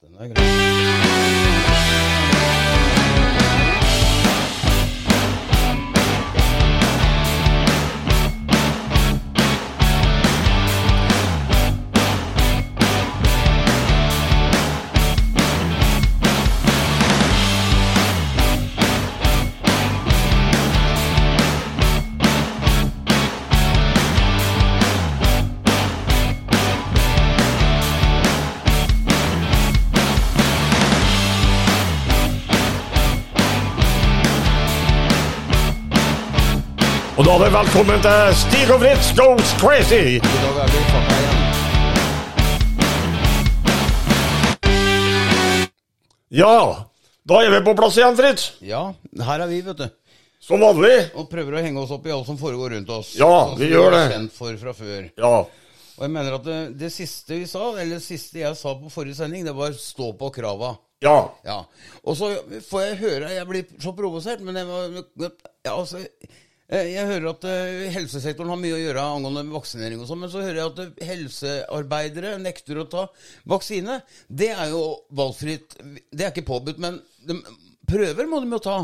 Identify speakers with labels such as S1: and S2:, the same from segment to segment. S1: Den er grei.
S2: Og da er det velkommen til Stig og Fritz Goes Crazy!
S1: I dag er vi fucka igjen.
S2: Ja, da er vi på plass igjen, Fritz.
S1: Ja, her er vi, vet du.
S2: Som vanlig.
S1: Og prøver å henge oss opp i alt som foregår rundt oss.
S2: Ja,
S1: Sånn
S2: vi
S1: som
S2: gjør
S1: er
S2: det.
S1: kjent for fra før.
S2: Ja.
S1: Og jeg mener at det, det siste vi sa, eller det siste jeg sa på forrige sending, det var stå på krava.
S2: Ja.
S1: Ja. Og så får jeg høre Jeg blir så provosert, men jeg, var- ja, altså, eh, jeg hører at eh, helsesektoren har mye å gjøre angående vaksinering og sånn, men så hører jeg at eh, helsearbeidere nekter å ta vaksine. Det er jo valgfritt. Det er ikke påbudt, men de, prøver må de jo ta.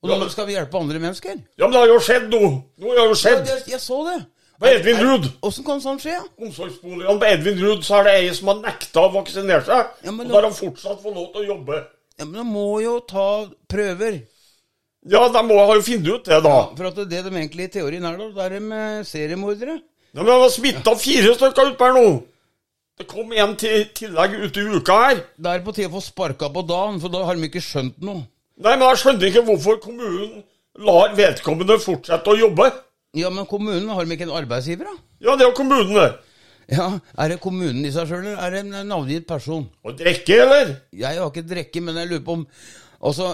S1: Og
S2: Ja,
S1: da
S2: men-
S1: skal vi hjelpe andre mennesker.
S2: ja, men det har jo skjedd nå. Nå har det
S1: Ja,
S2: jo skjedd.
S1: jeg, jeg så det.
S2: På Edvin Ruud.
S1: Åssen kan sånt skje? ja?
S2: Omsorgsboligene på Edvin Ruud så er det ei som har nekta å vaksinere seg.
S1: Ja, men
S2: og
S1: da-
S2: da har han fortsatt fått lov til å jobbe.
S1: Ja, men de må jo ta prøver.
S2: Ja, de må ha jo funnet ut det, da.
S1: For at det de egentlig i teorien er, da, det er de eh, seriemordere.
S2: Ja, men han har smitta fire stykker utpå her nå. Det kom en til tillegg ute i uka her.
S1: Da er det på tide å få sparka på dagen, for da har de ikke skjønt noe.
S2: Nei, men jeg skjønner ikke hvorfor kommunen lar vedkommende fortsette å jobbe.
S1: Ja, men kommunen, har de ikke en arbeidsgiver, da?
S2: Ja, det er jo kommunen, det.
S1: Ja, Er det kommunen i seg sjøl, eller er det en navngitt person?
S2: Å drikke, eller?
S1: Jeg har ikke drikke, men jeg lurer på om Altså,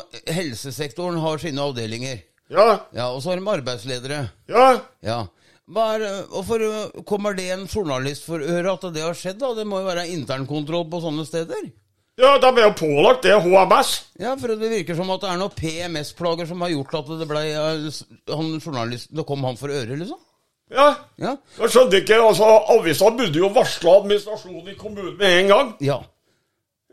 S1: helsesektoren har sine avdelinger.
S2: Ja,
S1: Ja, og så har de arbeidsledere.
S2: ja.
S1: Ja. Hva er, hvorfor kommer det en journalist for øre at det har skjedd, da? Det må jo være internkontroll på sånne steder?
S2: Ja, de er jo pålagt det, HMS.
S1: Ja, for det virker som at det er noen PMS-plager som har gjort at det ble eh, s- han journalisten Det kom han for øre, liksom?
S2: Ja.
S1: Ja.
S2: Jeg skjønner ikke, altså, avisa burde jo varsle administrasjonen i kommunen med en gang.
S1: ja.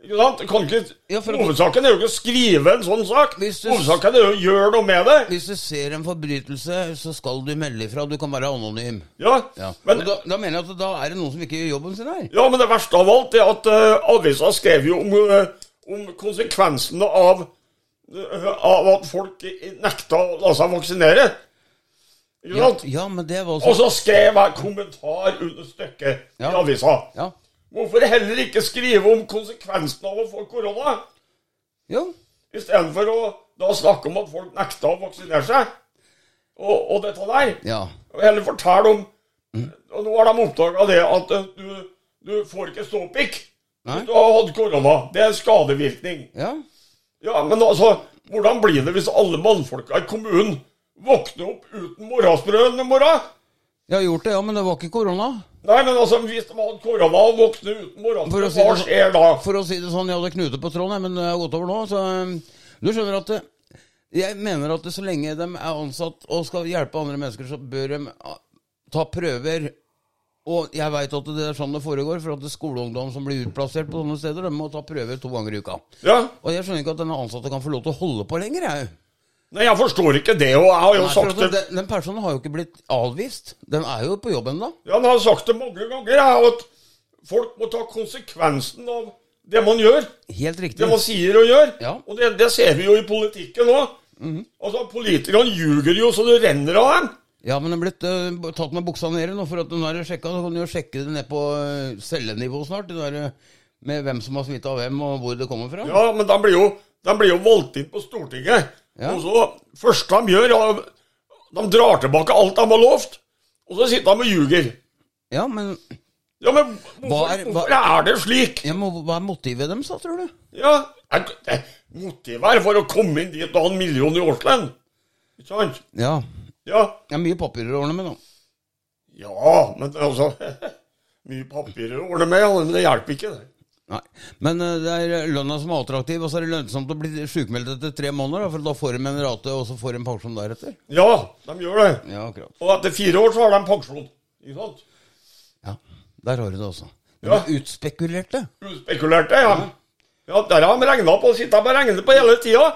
S2: Ikke sant? Det Kan ikke,
S1: Ja, for-
S2: hovedsaken er jo ikke å skrive en sånn sak.
S1: Hvis du-
S2: Hovedsaken er jo å gjøre noe med det.
S1: Hvis du ser en forbrytelse, så skal du melde ifra. Du kan være anonym.
S2: Ja,
S1: Ja.
S2: men...
S1: og da, da mener jeg at da er det noen som ikke gjør jobben sin her.
S2: Ja, men det verste av alt er at eh, avisa skrev jo om, eh, om konsekvensene av, eh, av at folk i- nekta å la seg vaksinere. Ikke
S1: Ja,
S2: sant?
S1: ja men det var
S2: Og
S1: også
S2: så skrev jeg kommentar under stykket i
S1: Ja.
S2: avisa.
S1: Ja.
S2: Hvorfor heller ikke skrive om konsekvensene av å få korona,
S1: Jo.
S2: istedenfor å da snakke om at folk nekta å vaksinere seg? Og, og dette der.
S1: Ja.
S2: Og Heller fortelle om Og nå har de oppdaga det at eh, du, du får ikke ståpikk.
S1: Nei.
S2: Du har hatt korona. Det er skadevirkning.
S1: Ja.
S2: Ja, men altså, hvordan blir det hvis alle mannfolka i kommunen våkner opp uten morgensbrød i morgen?
S1: Jeg har gjort det, ja, men det var ikke korona.
S2: Nei, men altså, hvis de hadde korona og våkner uten
S1: For å
S2: morgensbrød,
S1: si det
S2: hva
S1: sånn-
S2: skjer da?
S1: For å si det sånn, jeg hadde knute på tråden, jeg, men det har gått over nå. Så um, du skjønner at eh, jeg mener at så lenge de er ansatt og skal hjelpe andre mennesker, så bør de ah, ta prøver. Og jeg veit at det er sånn det foregår, for at det er skoleungdom som blir utplassert på sånne steder, de må ta prøver to ganger i uka.
S2: Ja,
S1: Og jeg skjønner ikke at denne ansatte kan få lov til å holde på lenger, jeg.
S2: Nei, jeg forstår ikke det, og jeg har jo
S1: Nei, for
S2: sagt
S1: at
S2: det
S1: den, den personen har jo ikke blitt avvist. Den er jo på jobb ennå.
S2: Ja, men jeg har sagt det mange ganger, jeg, at folk må ta konsekvensen av det man gjør.
S1: Helt riktig.
S2: Det man sier og gjør.
S1: Ja. Mhm.
S2: Og det, det ser vi jo i politikken òg. Altså, politikerne ljuger jo så det renner av dem.
S1: Ja, men den er blitt eh, tatt med buksa nede nå, for at den har jeg sjekka. Så kan du jo sjekke det ned på eh, cellenivå snart. Det der, eh, med hvem som har smitta hvem, og hvor det kommer fra.
S2: Ja, men de blir jo, de blir jo valgt inn på Stortinget.
S1: Ja.
S2: Og så første de gjør, ja, de drar tilbake alt de har lovt. Og så sitter de og ljuger.
S1: Ja, men
S2: Ja, men hvorfor,
S1: Hva er- hva-
S2: hvorfor er det slik?
S1: ja, men hva er motivet deres, da, tror du?
S2: Ja, jeg, det, Motivet er for å komme inn dit og ha en million i årslønn. Ikke sant?
S1: Ja.
S2: Ja.
S1: Det er mye papirer å ordne med, da.
S2: ja, men altså Mye papirer å ordne med, ja, men det hjelper ikke, det.
S1: Nei. Men eh, det er lønna som er attraktiv, og så er det lønnsomt å bli sjukmeldt etter tre måneder, da, for da får de en rate, og så får de en pensjon deretter.
S2: Ja, de gjør det.
S1: Ja, akkurat.
S2: Og etter fire år så har de pensjon. Ikke sant?
S1: Ja, der har du det også. De
S2: Ja.
S1: er utspekulerte.
S2: Uspekulerte, ja. Ja, der har de regna på. Sitter de og regner på hele tida.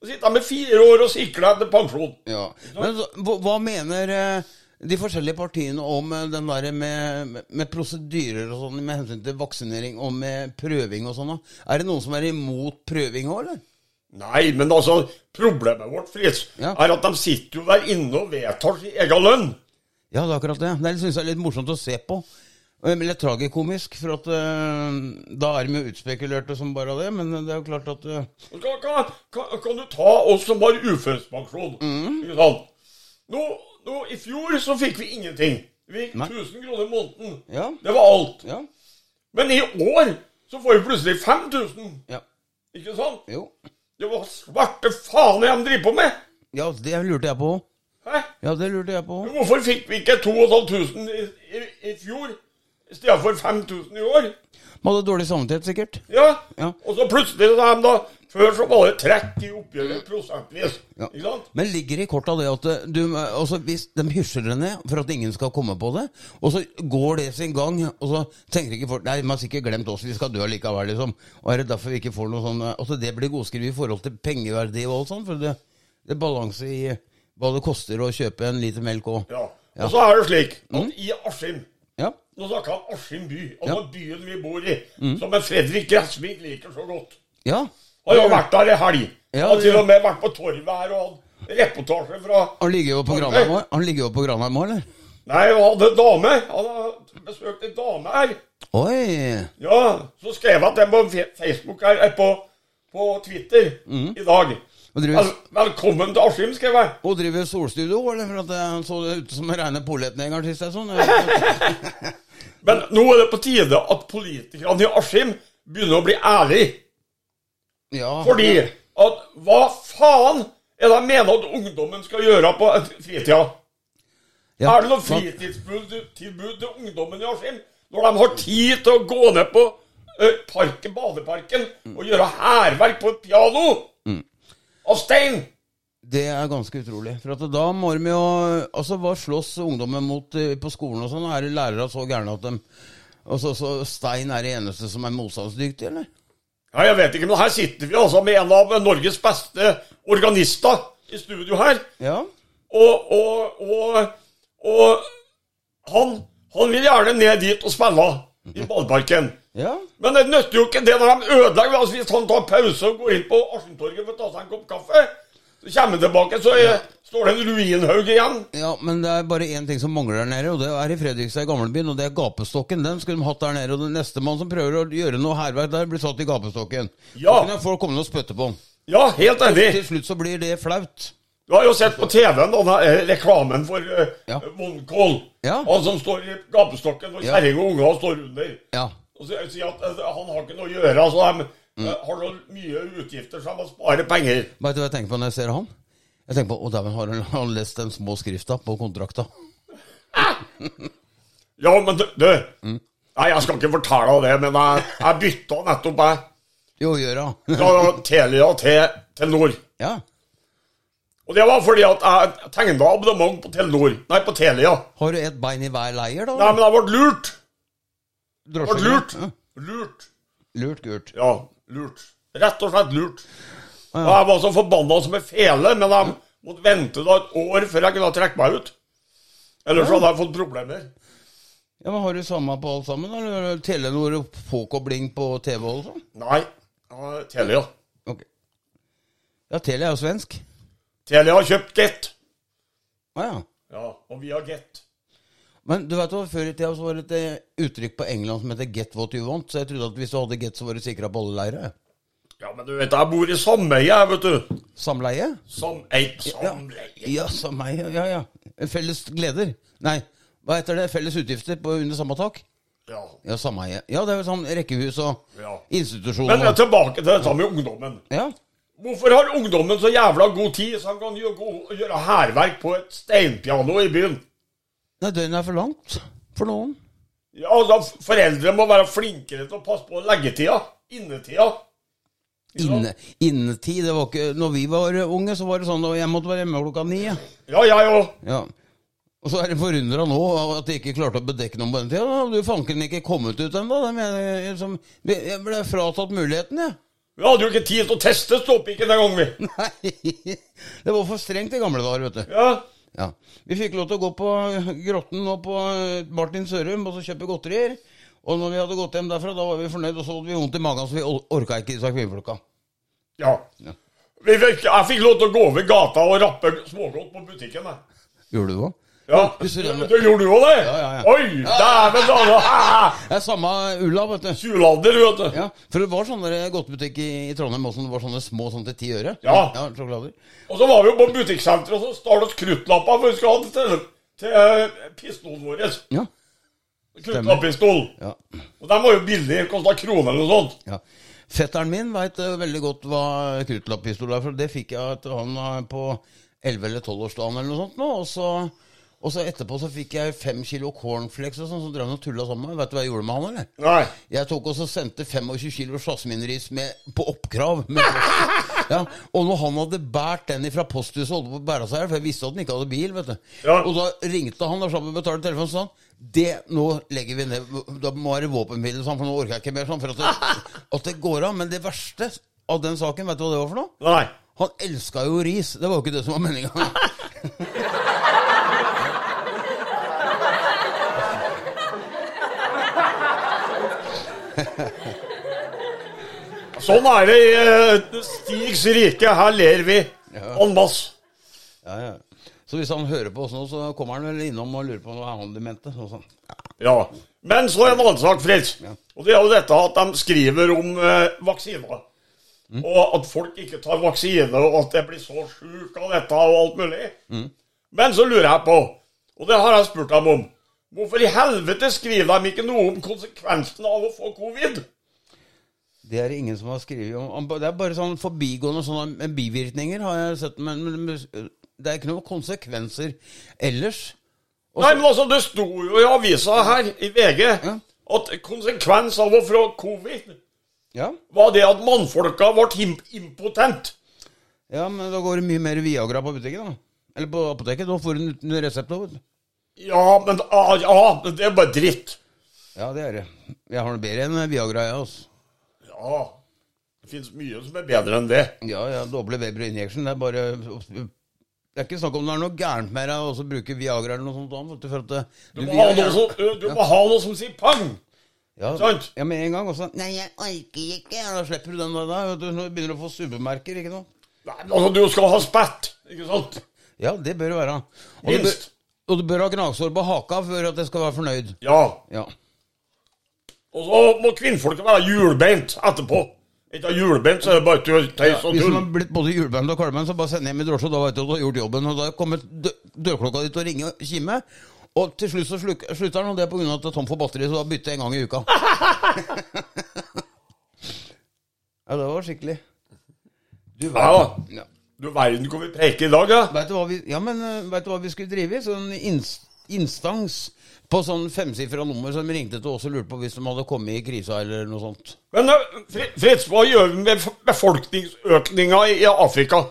S2: Så sitter de med fire år og sikler etter pensjon.
S1: Ja. Men så, hva- hva mener eh, de forskjellige partiene om eh, den der med, med- med prosedyrer og sånn med hensyn til vaksinering og med prøving og sånn? da? Er det noen som er imot prøving òg, eller?
S2: Nei, men altså, problemet vårt, Fritz,
S1: Ja.
S2: er at de sitter jo der inne og vedtar sin egen lønn.
S1: Ja, det er akkurat det. Det syns jeg er litt morsomt å se på. Eh, men Litt tragikomisk, for at eh, da er de jo utspekulerte som bare det. Men det er jo klart at eh,
S2: Og Kan, kan, kan, kan du ta oss som har uførepensjon?
S1: Mm.
S2: Ikke sant? Nå, nå, I fjor så fikk vi ingenting. Vi fikk
S1: Nei.
S2: 1000 kroner i måneden.
S1: Ja.
S2: Det var alt.
S1: Ja.
S2: Men i år så får vi plutselig 5000.
S1: Ja.
S2: Ikke sant?
S1: Jo.
S2: Det var svarte faen jeg driver på med!
S1: Ja, det lurte jeg på.
S2: Hæ?
S1: Ja, det lurte jeg på.
S2: Hvorfor fikk vi ikke 2500 i, i, i fjor i stedet for 5000 i år?
S1: Man hadde dårlig samvittighet, sikkert.
S2: Ja.
S1: Ja.
S2: Og så plutselig så er de da Før så var det trekk i oppgjøret prosentvis.
S1: Mm. Ja.
S2: Ikke sant?
S1: Men ligger det i korta det at eh, du, eh, altså hvis de hysjer det ned for at ingen skal komme på det, og så går det sin gang, og så tenker ikke folk Nei, de har sikkert glemt oss, vi skal dø likevel, liksom. Og er det derfor vi ikke får noe sånn eh, Altså, det blir godskrevet i forhold til pengeverdi og alt sånt, for det, det er balanse i eh, hva det koster å kjøpe en liter melk og
S2: Ja.
S1: Ja. Mm.
S2: Og så er det slik at i Askim
S1: Ja.
S2: Nå snakker jeg om Askim by, altså byen vi bor i,
S1: Mm.
S2: som en Fredrik Gressvik liker så godt.
S1: Ja.
S2: Har jo vært der i helg.
S1: Ja,
S2: har til
S1: ja.
S2: og med vært på torvet her og hatt reportasje fra
S1: Han ligger jo på Granheim òg, han ligger jo på Granheim også, eller?
S2: Nei, han hadde en dame. Han hadde besøkt en dame her.
S1: Oi!
S2: Ja, så skrev han det på fe- Facebook her, eh, på, på Twitter
S1: Mm.
S2: i dag.
S1: Og driver-
S2: Vel, velkommen til Askim, skrev jeg.
S1: Og driver solstudio, eller? For at eh, han så det ut som reine polletnegeren sist jeg sånn. Ja,
S2: Men nå er det på tide at politikerne i Askim begynner å bli ærlige. Fordi at hva faen er det de mener at ungdommen skal gjøre på fritida?
S1: ja.
S2: Er det noe fritidstilbud til ungdommen i Askim? Når de har tid til å gå ned på ø, parken, badeparken og gjøre hærverk på et piano Mm. av stein?
S1: Det er ganske utrolig. For at da må de jo Altså, hva slåss ungdommen mot eh, på skolen og sånn? Er det lærere så gærne at de Altså, så Stein er det eneste som er motstandsdyktig, eller?
S2: Ja, jeg vet ikke, men her sitter vi altså med en av Norges beste organister i studio her.
S1: Ja.
S2: Og, og, og, og han, han vil gjerne ned dit og spille i badeparken.
S1: Ja.
S2: Men det nytter jo ikke det når de ødelegger. Altså, hvis han tar pause og går inn på Askentorget for å ta seg en kopp kaffe, så kommer han tilbake, så er, står det en ruinhaug igjen.
S1: Ja, Men det er bare én ting som mangler der nede, og det er i Fredrikstad i gamlebyen. Og det er gapestokken. Den skulle de hatt der nede. Og den neste mann som prøver å gjøre noe hærverk der, blir satt i gapestokken.
S2: Ja.
S1: Da kunne folk komme og spytte på den.
S2: Ja, helt enig.
S1: Til slutt så blir det flaut.
S2: Du har jo sett på TV-en denne eh, reklamen for eh,
S1: Ja.
S2: Vondkål.
S1: Ja.
S2: Han som står i gapestokken og
S1: Ja.
S2: kjerring og unger står under.
S1: Ja.
S2: Og så sier at eh, han har ikke noe å gjøre, altså de
S1: Mm.
S2: eh, har så mye utgifter så de må spare penger.
S1: Veit du hva jeg tenker på når jeg ser han? Jeg tenker på Å, dæven, har han- har han lest den små skrifta på kontrakta?
S2: Ja, men du, du
S1: Mm.
S2: Nei, jeg skal ikke fortelle deg det, men jeg, jeg bytta nettopp jeg,
S1: Jo, gjør han.
S2: fra Telia til Telenor.
S1: Ja.
S2: Og det var fordi at jeg tegna abonnement på Telenor. Nei, på Telia.
S1: Har du ett bein i hver leir, da?
S2: Nei, men jeg ble lurt. Jeg
S1: Drosje-
S2: Ble lurt.
S1: Ja.
S2: Lurt.
S1: Lurt, gult.
S2: Ja, lurt. Rett og slett lurt. Og jeg var så forbanna som en fele, men jeg måtte vente da et år før jeg kunne trekke meg ut. Ellers hadde jeg fått problemer.
S1: Ja, men Har du samme på alt sammen? Eller har du Telenor og påkobling på TV og sånn?
S2: Nei, ja, Telia.
S1: Ok. Ja, Telia er jo svensk.
S2: Telia har kjøpt Get.
S1: Å ja.
S2: Ja, og vi har Get.
S1: Men du vet hva, før i tida så var det et eh, uttrykk på England som heter 'get what you want', så jeg trodde at hvis du hadde get, så var du sikra på alle leirer.
S2: Ja, men du vet, jeg bor i sameie, jeg, vet du.
S1: Samleie?
S2: Sameie Samleie.
S1: Ja, som meg, ja, ja. Felles gleder. Nei, hva heter det? Felles utgifter på, under samme tak?
S2: Ja.
S1: Ja, sameie. Ja, det er jo sånn rekkehus og
S2: Ja. Men
S1: institusjoner.
S2: eh, tilbake til dette med ungdommen.
S1: ja.
S2: Hvorfor har ungdommen så jævla god tid så han kan jo gå- gjøre hærverk på et steinpiano i byen?
S1: Nei, døgnet er for langt for noen.
S2: Ja, altså, Foreldre må være flinkere til å passe på leggetida. Innetida.
S1: Inne, innetid, det var ikke Når vi var unge, så var det sånn at jeg måtte være hjemme klokka ni. ja.
S2: Ja, jeg òg.
S1: Ja. Og så er de forundra nå av at de ikke klarte å bedekke noen på den tida. Da hadde jo fanken ikke kommet ut ennå. De mener, liksom, Jeg ble fratatt muligheten, jeg.
S2: Vi hadde jo ikke tid til å teste ståpikken den gangen, vi.
S1: Nei, det var for strengt i gamle dager, vet du.
S2: Ja.
S1: Ja. Vi fikk lov til å gå på Grotten og på eh, Martin Sørum og så kjøpe godterier. Og når vi hadde gått hjem derfra, da var vi fornøyd, og så hadde vi vondt i magen, så vi or- orka ikke disse kvinnfolka.
S2: ja.
S1: Ja.
S2: Vi fikk, jeg fikk lov til å gå over gata og rappe smågodt på butikken. Jeg.
S1: Gjorde du det?
S2: Ja.
S1: Husker du det?
S2: Du gjorde du òg det?
S1: Ja, ja, ja.
S2: Oi, dæven dale!
S1: Det er samme ulla, vet du.
S2: Tjulander, vet du.
S1: Ja, For det var sånne godtebutikk i, i Trondheim også. Det var sånne små sånn til ti øre.
S2: Ja.
S1: ja sjokolader.
S2: Og så var vi jo på butikksenteret, og så stal oss kruttlappa, for vi skulle ha den til, til eh, pistolen vår.
S1: Ja.
S2: Kruttlappistol.
S1: ja.
S2: Og den var jo billig, kosta kroner eller noe sånt.
S1: ja. Fetteren min veit veldig godt hva kruttlappistol er, for det fikk jeg til han eh, på 11- eller 12-årsdagen eller noe sånt. nå, og så... Og så etterpå så fikk jeg fem kilo cornflakes og sånn, så drev han og tulla sammen med meg. Vet du hva jeg gjorde med han, eller?
S2: Nei.
S1: Jeg tok også sendte 25 kilo jasminris med, på oppkrav. Med posten. ja, og når han hadde båret den fra posthuset, holdt på å bære seg her, for jeg visste at han ikke hadde bil, vet du.
S2: Ja.
S1: Og da ringte han og sammen betalte telefonen og sa han det nå legger vi ned, da må være våpenhvile, sånn, for nå orker jeg ikke mer sånn. For at det, at det går av. Men det verste av den saken, vet du hva det var for noe?
S2: Nei.
S1: Han elska jo ris. Det var jo ikke det som var meninga.
S2: Sånn er det i eh, Stigs rike. Her ler vi en masse.
S1: Ja, ja. Så hvis han hører på oss nå, så kommer han vel innom og lurer på hva han de mente. Og sånn.
S2: Ja. Men så en annen sak, Fritz. Og det er jo dette at de skriver om eh, vaksiner. Og at folk ikke tar vaksine, og at jeg blir så sjuk av dette og alt mulig. Men så lurer jeg på, og det har jeg spurt dem om Hvorfor i helvete skriver de ikke noe om konsekvensen av å få covid?
S1: Det er det ingen som har skrevet om. Han ba- Det er bare sånn forbigående sånne bivirkninger, har jeg sett. Men, men men det er ikke noen konsekvenser ellers. Og
S2: Nei,
S1: så-
S2: men altså, det sto jo i avisa her, i VG, at konsekvens av å få covid
S1: ja.
S2: var det at mannfolka ble im- impotent.
S1: ja, men da går det mye mer Viagra på butikken, da. Eller på apoteket. Da får du den uten resept. da, vet du.
S2: Ja, men ah, ja, det er bare dritt.
S1: Ja, det er det. Jeg har noe bedre enn Viagra, jeg, altså.
S2: Ja, det fins mye som er bedre enn det.
S1: Ja, ja, doble Weber injection. Det er bare Det er ikke snakk om det er noe gærent med deg å bruke Viagra eller noe sånt. annet, vet du, For at det,
S2: Du må ha noe som, du må ha noe som sier pang.
S1: Ja,
S2: Sant?
S1: ja, med en gang også. Nei, jeg orker ikke. Da slipper du den der. da, vet Du når du begynner å få subbemerker, ikke sant?
S2: Nei, men altså, du skal ha spett, ikke sant?
S1: Ja, det bør det være. Og du bør,
S2: Minst.
S1: og du bør ha gnagsår på haka for at jeg skal være fornøyd.
S2: Ja.
S1: Ja.
S2: Og så må kvinnfolket være hjulbeint etterpå. Ikke ha hjulbeint, så er det bare tull, tøys og
S1: Hvis du
S2: tull.
S1: har blitt både juleband og kalveband, så bare send hjem i drosje, og da vet du at du har gjort jobben. Og da kommer dø dørklokka di til å ringe og kime, og til slutt så sluk slutter den, og det er på grunn av at det er tom for batteri, så da bytter jeg en gang i uka. ja, det var skikkelig. Du
S2: Ja, da.
S1: verden. ja.
S2: Du verden hvor vi preker i dag, ja.
S1: Vet du hva vi, ja, men eh, vet du hva vi skulle drive i? Sånn ins- instans på sånn femsifra nummer som ringte til oss og lurte på hvis de hadde kommet i krisa eller noe sånt.
S2: Men eh, Fri- Fritz, hva gjør vi med f- befolkningsøkninga i i Afrika?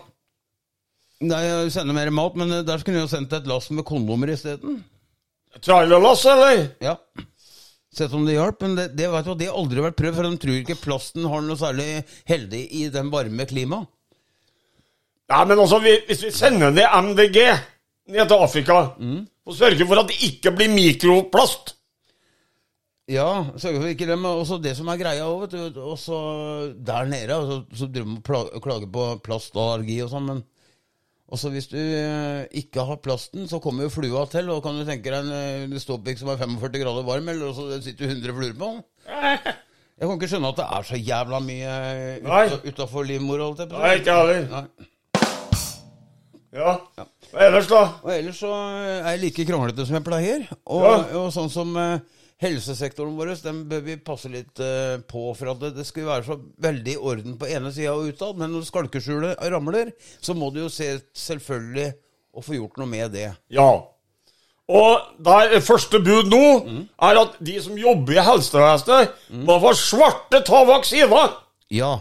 S1: Nei, jeg sender mer mat, men eh, der skulle jeg jo sendt et lass med kondomer isteden.
S2: Trailerlass, eller?
S1: Ja. Sett om det hjalp, men det, det, vet du, hva, det har aldri vært prøvd, for de tror ikke plasten har noe særlig heldig i den varme klimaet.
S2: Nei, men altså, vi, hvis vi sender ned MDG ned til Afrika,
S1: Mm.
S2: og sørger for at det ikke blir mikroplast
S1: Ja, sørge for ikke det, men også det som er greia òg, vet du. Også der nede, altså, så driver man og pla- klager på plastallergi og sånn, men også hvis du eh, ikke har plasten, så kommer jo flua til, og kan du tenke deg en eh, ståpikk som er 45 grader varm, eller og så sitter det 100 fluer på den? Jeg kan ikke skjønne at det er så jævla mye eh,
S2: Nei.
S1: utafor livmora. holdt jeg på å
S2: Nei,
S1: si.
S2: ikke heller.
S1: Nei.
S2: Ja. Hva ellers, da?
S1: Og ellers så eh, er jeg like kronglete som jeg pleier. Og,
S2: Ja.
S1: og sånn som eh, helsesektoren vår, den bør vi passe litt eh, på. For at det, det skulle være så veldig i orden på ene sida og utad, men når skalkeskjulet ramler, så må du jo se selvfølgelig å få gjort noe med det.
S2: Ja. Og der første bud nå
S1: Mm.
S2: er at de som jobber i helsevesenet, må få svarte ta vaksiner!
S1: Ja.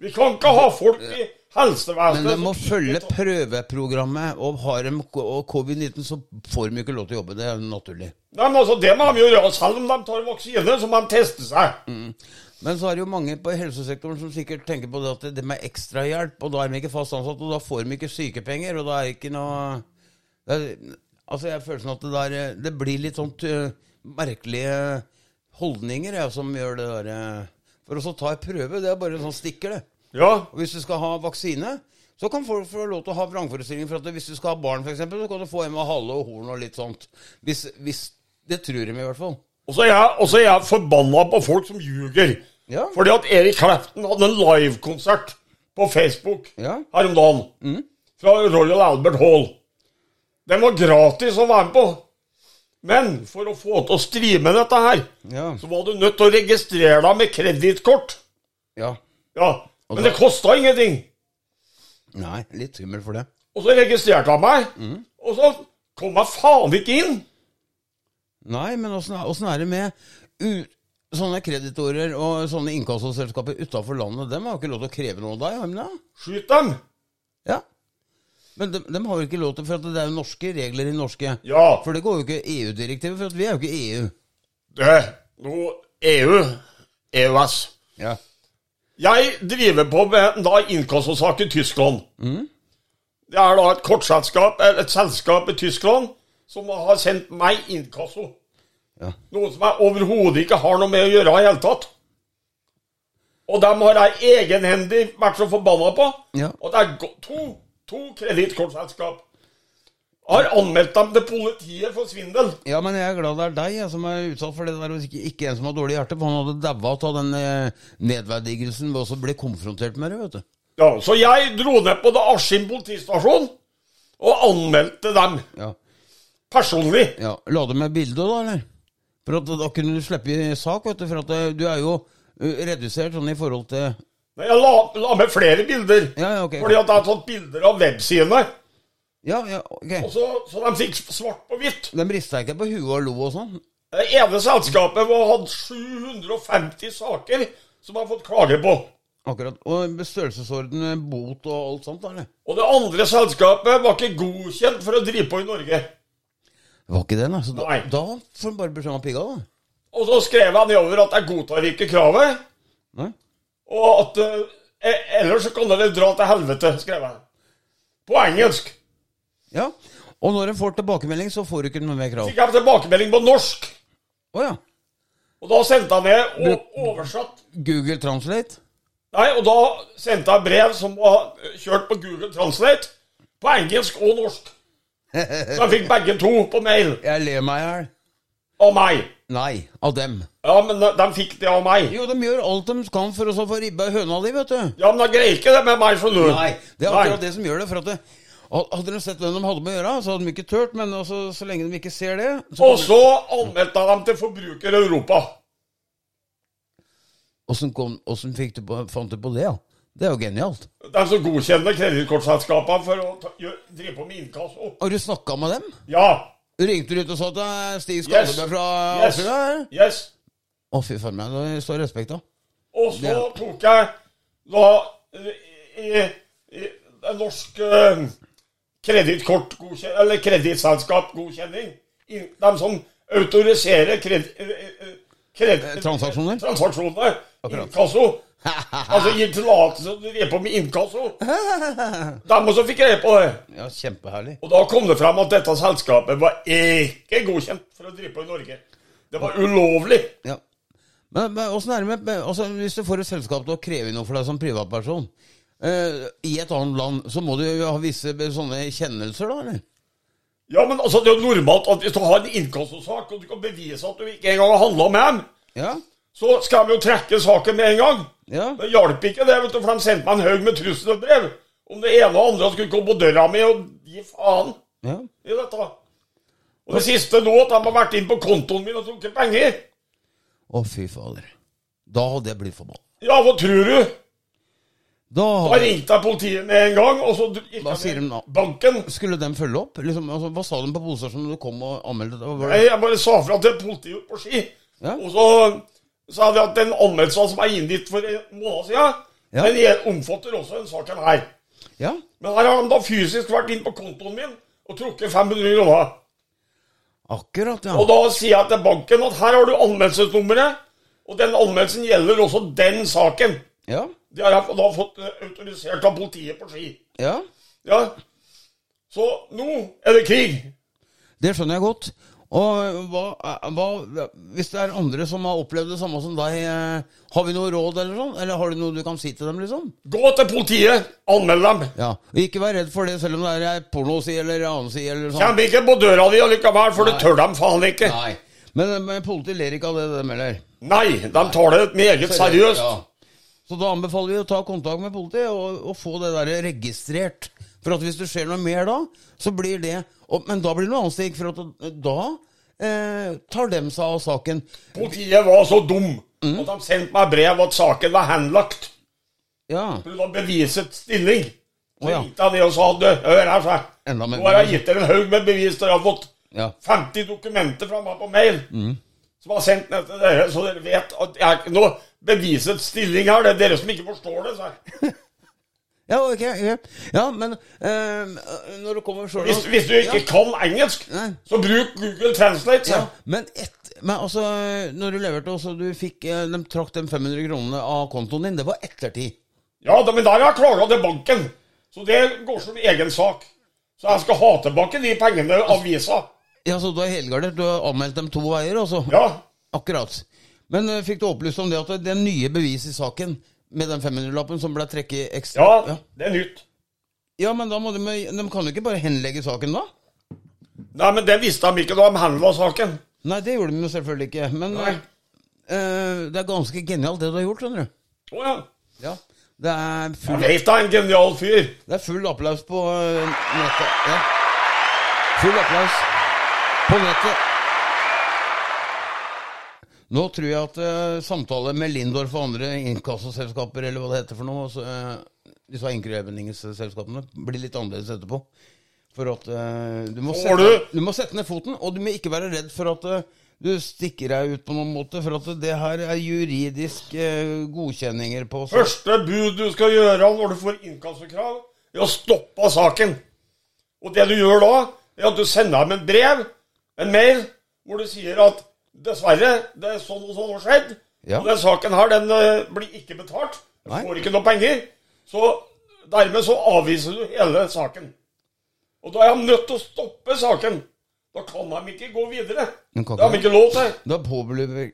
S2: Vi kan ikke ha folk i helsevesenet
S1: Men de må
S2: som ikke
S1: følge
S2: tar-
S1: prøveprogrammet, og har de ko- og covid-19, så får de ikke lov til å jobbe. Det er naturlig.
S2: Nei, men altså, Det må de jo gjøre, selv om de tar vaksine, så må de teste seg.
S1: Men så er det jo mange på helsesektoren som sikkert tenker på det at det med ekstrahjelp, og da er de ikke fast ansatt, og da får de ikke sykepenger, og da er det ikke noe det er, Altså, jeg har følelsen at det der Det blir litt sånt øh, merkelige holdninger ja, som gjør det derre For å ta en prøve, det er bare en sånn stikker, det.
S2: Ja.
S1: Og hvis du skal ha vaksine, så kan folk få lov til å ha vrangforestillinger. For at hvis du skal ha barn, f.eks., så kan du få en med hale og horn og litt sånt. Hvis, hvis Det tror de i hvert fall.
S2: Og så er jeg, og så er jeg forbanna på folk som ljuger.
S1: Ja.
S2: Fordi at Erik Kleften hadde en livekonsert på Facebook
S1: Ja.
S2: her om dagen. Fra Royal Albert Hall. Den var gratis å være med på. Men for å få til å streame dette her,
S1: Ja.
S2: så var du nødt til å registrere deg med kredittkort.
S1: ja.
S2: Ja. Men det kosta ingenting.
S1: Nei, litt skummelt for det.
S2: Og så registrerte han meg, og så kom jeg faen ikke inn.
S1: Nei, men åssen er- åssen er det med u sånne kreditorer og sånne innkassoselskaper utafor landet? Dem har jo ikke lov til å kreve noe av deg, har de det?
S2: Skyt dem!
S1: Ja. Men dem, dem har jo ikke lov til, for at det er jo norske regler i norske
S2: Ja,
S1: For det går jo ikke EU-direktivet, for at vi er jo ikke E EU.
S2: det Nå E EU, EØS
S1: Ja.
S2: Jeg driver på med da innkassosak i Tyskland. Det er da et kortselskap, eller et selskap i Tyskland, som har sendt meg innkasso.
S1: Ja.
S2: Noe som jeg overhodet ikke har noe med å gjøre i hele tatt. Og dem har jeg egenhendig vært så forbanna på.
S1: Ja.
S2: Og det er gå- to, to kredittkortselskap. Har anmeldt dem til politiet for svindel.
S1: Ja, men jeg er glad det er deg jeg, som er utsatt for det der, og ikke, ikke en som har dårlig hjerte. For han hadde daua av den eh, nedverdigelsen ved også å bli konfrontert med det, vet du.
S2: Ja, Så jeg dro ned på det Askim politistasjon og anmeldte dem
S1: Ja.
S2: personlig.
S1: ja. La det med bilde, da, eller? For at, da kunne du slippe i sak, vet du. For at eh, du er jo eh, redusert sånn i forhold til
S2: Men Jeg la, la med flere bilder,
S1: Ja, ja, ok.
S2: fordi at jeg har tatt bilder av websidene.
S1: Ja, ja,
S2: Og
S1: ok.
S2: så, så de fikk svart på hvitt.
S1: De rista ikke på huet og lo og sånn?
S2: Det ene selskapet var hatt 750 saker som jeg har fått klager på.
S1: Akkurat. Og størrelsesorden, eh, bot og alt sånt, da, eller?
S2: Og det andre selskapet var ikke godkjent for å drive på i Norge.
S1: Det var ikke det, nei. Så da,
S2: Nei.
S1: da får de bare beskjed om å pigge av, da.
S2: Og så skrev jeg nedover at jeg godtar ikke kravet,
S1: Nei?
S2: og at eh, ellers så kan dere dra til helvete, skrev jeg. På engelsk.
S1: Ja. Og når en får tilbakemelding, så får du ikke noe mer krav.
S2: Fikk jeg tilbakemelding på norsk,
S1: Å ja.
S2: og da sendte jeg ned og oversatt.
S1: Google Translate?
S2: Nei, og da sendte jeg brev som var kjørt på Google Translate, på engelsk og norsk. Så jeg fikk begge to på mail
S1: Jeg ler meg i hjel.
S2: av meg.
S1: Nei, av dem.
S2: Ja, men de de fikk det av meg.
S1: Jo, de gjør alt de kan for å så få ribba i høna di, vet du.
S2: Ja, men jeg greier ikke det med meg, skjønner du.
S1: Det er akkurat
S2: Nei.
S1: det som gjør det. for at det, Hadde de sett hvem de hadde med å gjøre, så hadde de ikke turt. Men altså, så lenge de ikke ser det så...
S2: Og så anmeldte jeg dem til Forbruker Europa.
S1: Åssen kom- åssen fikk du på, fant du på det? Ja? Det er jo genialt.
S2: De som godkjenner kredittkortselskapene for å ta, gjø, drive på med innkasso.
S1: Har du snakka med dem?
S2: Ja.
S1: Ringte du ut og sa at det er Stig
S2: Yes.
S1: Skallebø fra
S2: Yes.
S1: Akerøy her?
S2: yes.
S1: Å, fy faen meg, det står respekt av.
S2: Og så
S1: Det-
S2: tok jeg da eh, i, i, en norsk eh, kredittkortgodkjenning, eller kredittselskapgodkjenning, inn- de som autoriserer kred, eh, eh, kred,
S1: Eh, transaksjoner?
S2: transaksjoner,
S1: Akkurat.
S2: Inkasso. altså gir tillatelse til å drive på med innkasso. De også fikk greie på det.
S1: Ja, kjempeherlig.
S2: Og da kom det frem at dette selskapet var ikke godkjent for å drive på i Norge. Det var ulovlig.
S1: Ja. Men, men åssen er det med med- altså, Hvis du får et selskap til å kreve noe for deg som privatperson eh, i et annet land, så må du jo ha visse be- sånne kjennelser, da? eller?
S2: Ja, men altså, det er jo normalt at hvis du har en innkassosak, og du kan bevise at du ikke engang har handla med dem,
S1: Ja.
S2: så skal de jo trekke saken med en gang.
S1: ja.
S2: Det hjalp ikke det, vet du, for de sendte meg en haug med trusselbrev om det ene og andre skulle komme på døra mi og gi faen
S1: ja.
S2: i dette. Og det siste nå, at de har vært inn på kontoen min og trukket penger.
S1: Å, fy fader. Da hadde jeg blitt forbanna.
S2: Ja, hva tror du?
S1: Da
S2: Da
S1: hadde...
S2: ringte jeg politiet med en gang, og så gikk
S1: Hva
S2: jeg
S1: sier de
S2: ned
S1: da?
S2: banken.
S1: Skulle de følge opp? Liksom, altså, hva sa de på politistasjonen når du kom og anmeldte? det? Hva var det?
S2: Nei, jeg bare sa fra til politiet på ski.
S1: Ja.
S2: Og så sa de at den anmeldelsen som er inngitt for en måned siden,
S1: Ja.
S2: den gjel- omfatter også den saken her.
S1: Ja?
S2: Men her har de da fysisk vært inn på kontoen min og trukket 500 kroner.
S1: Akkurat,
S2: Og
S1: ja.
S2: da sier jeg til banken at her har du anmeldelsesnummeret, Og den anmeldelsen gjelder også den saken.
S1: Ja.
S2: Det har jeg da fått eh, autorisert av politiet på Ski.
S1: ja.
S2: Ja. Så nå er det krig.
S1: Det skjønner jeg godt. Og hva, eh, hva, hvis det er andre som har opplevd det samme som deg, eh, har vi noe råd eller sånn? Eller har du noe du kan si til dem, liksom?
S2: Gå til politiet, anmeld dem.
S1: Ja. Og ikke vær redd for det, selv om det er ei pornoside eller en annen side eller sånn.
S2: Kjem ikke på døra di allikevel, for det
S1: Nei.
S2: tør dem faen ikke.
S1: Nei. Men, eh, men politiet ler ikke av det, dem heller.
S2: Nei, de tar det meget seriøst.
S1: Ja. Så da anbefaler vi å ta kontakt med politiet og, og få det der registrert. For at hvis det skjer noe mer da, så blir det og, Men da blir det noe annet stikk, for at da eh, tar dem seg av saken.
S2: Politiet var så dum at de sendte meg brev at saken var henlagt.
S1: Ja.
S2: For det var beviset stilling. Så
S1: Å, ja.
S2: ringte han ned og sa du, hør her, sa jeg.
S1: Enda mer-
S2: Nå har jeg gitt dere en haug med bevis. Dere har fått
S1: Ja.
S2: 50 dokumenter fra meg på mail
S1: Mm.
S2: som jeg har sendt ned til dere, så dere vet at jeg er ikke noe bevisets stilling her. Det er dere som ikke forstår det, sa jeg.
S1: Ja, ok. Ja, ja men eh, når du kommer sjøl
S2: Hvis, hvis du ikke kan engelsk,
S1: Nei.
S2: så bruk Google Translate, sa
S1: ja,
S2: jeg.
S1: men, et, men altså, når du leverte, og så du fikk eh, De trakk de 500 kronene av kontoen din. Det var ettertid.
S2: Ja, da, men der har jeg klaga til banken. Så det går som egen sak. Så jeg skal ha tilbake de pengene avisa.
S1: Ja, så du er helgardert. Du har anmeldt dem to veier, altså?
S2: Ja.
S1: Akkurat. Men eh, fikk du opplyst om det at det nye beviset i saken, med den 500-lappen som ble trekket ekstra
S2: ja,
S1: ja.
S2: det er nytt.
S1: Ja, men da må de, de kan jo ikke bare henlegge saken da?
S2: Nei, men det visste de ikke da de handla saken.
S1: Nei, det gjorde de jo selvfølgelig ikke. Men
S2: Nei.
S1: eh, det er ganske genialt det du har gjort, skjønner du.
S2: Å ja.
S1: Ja. Det er
S2: Jeg
S1: full,
S2: vet da, en genial fyr.
S1: det er full applaus på eh, nettet. Ja. Full applaus på nettet. Nå tror jeg at eh, samtale med Lindorf og andre inkassoselskaper, eller hva det heter for noe, altså, eh, disse innkrevingsselskapene, blir litt annerledes etterpå. For at eh, du, må
S2: Får
S1: sette, du må sette ned foten, og du må ikke være redd for at eh, du stikker deg ut på noen måte, for at det her er juridisk eh, godkjenninger på
S2: Første bud du skal gjøre når du får inkassokrav, er å stoppe saken. Og det du gjør da, er at du sender dem et brev, en mail, hvor du sier at dessverre, det er sånn og sånn har skjedd,
S1: Ja.
S2: og den saken her, den eh, blir ikke betalt, du
S1: Nei.
S2: får ikke noe penger, så dermed så avviser du hele saken. Og da er de nødt til å stoppe saken. Da kan de ikke gå videre.
S1: De kan
S2: Det har de
S1: ikke.
S2: ikke lov til.
S1: Da påbeløper,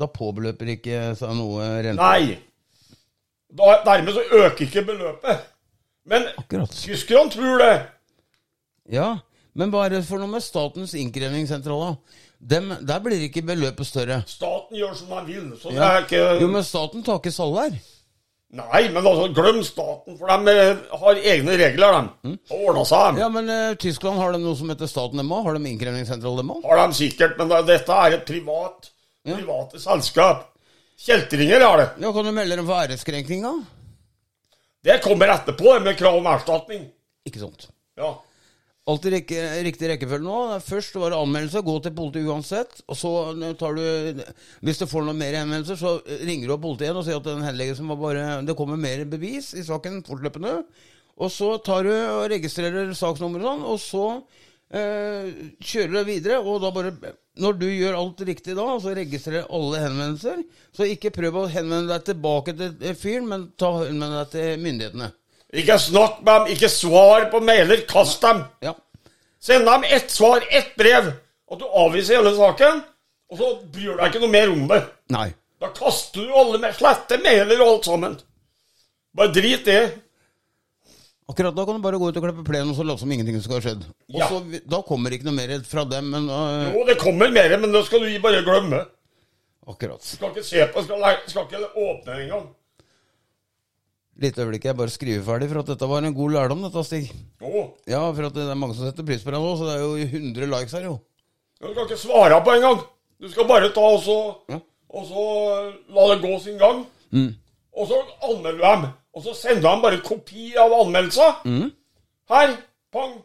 S1: da påbeløper ikke seg noe rente.
S2: Nei. Da, dermed så øker ikke beløpet. Men
S1: Akkurat.
S2: tyskerne tror det.
S1: Ja, men hva er det for noe med Statens innkrevingssentral, da? Dem, der blir ikke beløpet større.
S2: Staten gjør som de vil. Så det
S1: Ja.
S2: er ikke
S1: Jo, men staten tar ikke salær.
S2: Nei, men altså, glem staten, for de eh, har egne regler, de. Har ordna seg, de.
S1: Mm. Ja, men eh, Tyskland har de noe som heter staten dem òg? Har de innkrevingssentral dem òg?
S2: Har de sikkert, men det- dette er et privat private selskap. Kjeltringer er det.
S1: Ja, kan du melde dem for æreskrenking, da?
S2: Det kommer etterpå, det med krav om erstatning.
S1: Ikke sant.
S2: Ja.
S1: Alt i rekke, riktig rekkefølge nå. Først var det anmeldelse, gå til politiet uansett. Og så eh, tar du Hvis du får noen mer henvendelser, så eh, ringer du opp politiet igjen og sier at den henleggelsen var bare Det kommer mer bevis i saken fortløpende. Og så tar du og registrerer saksnummeret og sånn, og så eh, kjører du videre. Og da bare Når du gjør alt riktig da, og så registrerer alle henvendelser, så ikke prøv å henvende deg tilbake til fyren, men ta henvend deg til myndighetene.
S2: Ikke snakk med dem, ikke svar på mailer. Kast dem.
S1: Ja.
S2: Send dem ett svar, ett brev. At du avviser hele saken, og så bryr deg ikke noe mer om det.
S1: Nei.
S2: Da kaster du alle med slette mailer og alt sammen. Bare drit det.
S1: Akkurat da kan du bare gå ut og klippe plenen og så late som ingenting skal ha skjedd. Og
S2: Ja.
S1: så, Da kommer ikke noe mer fra dem, men øh,
S2: Jo, det kommer mer, men det skal du bare glemme.
S1: Akkurat.
S2: Skal ikke se på, skal, le- skal ikke åpne engang.
S1: Lite øyeblikk, jeg bare skriver ferdig, for at dette var en god lærdom, dette, Stig.
S2: Jo,
S1: Ja, for at det er mange som setter pris på deg nå, så det er jo 100 likes her, jo.
S2: du skal ikke svare på engang. Du skal bare ta og så,
S1: Ja. Mm.
S2: og så eh, la det gå sin gang. Og så anmelder du dem. Og så sender du dem bare kopi av anmeldelsen.
S1: Mm.
S2: Her, pang.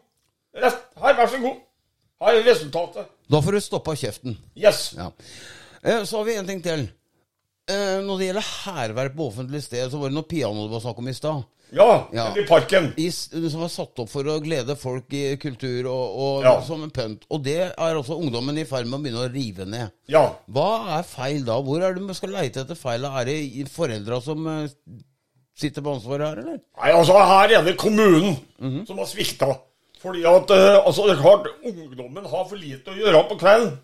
S2: Rett, her, vær så god. Her er resultatet.
S1: Da får du stoppa kjeften.
S2: Yes.
S1: Ja. Eh, Så har vi en ting til. eh, når det gjelder hærverk på offentlig sted, så var det noe piano det var snakk om i stad.
S2: Ja,
S1: Ja.
S2: i parken.
S1: i, som var satt opp for å glede folk i kultur og, og
S2: Ja.
S1: som en pønt. Og det er også ungdommen i ferd med å begynne å rive ned.
S2: Ja.
S1: Hva er feil da? Hvor er det man skal leite etter feil? Er det i- foreldra som eh, sitter på ansvaret her, eller?
S2: Nei, altså, her er det kommunen
S1: Mhm.
S2: som har svikta. Fordi at eh, altså, det er klart, ungdommen har for lite å gjøre på kvelden.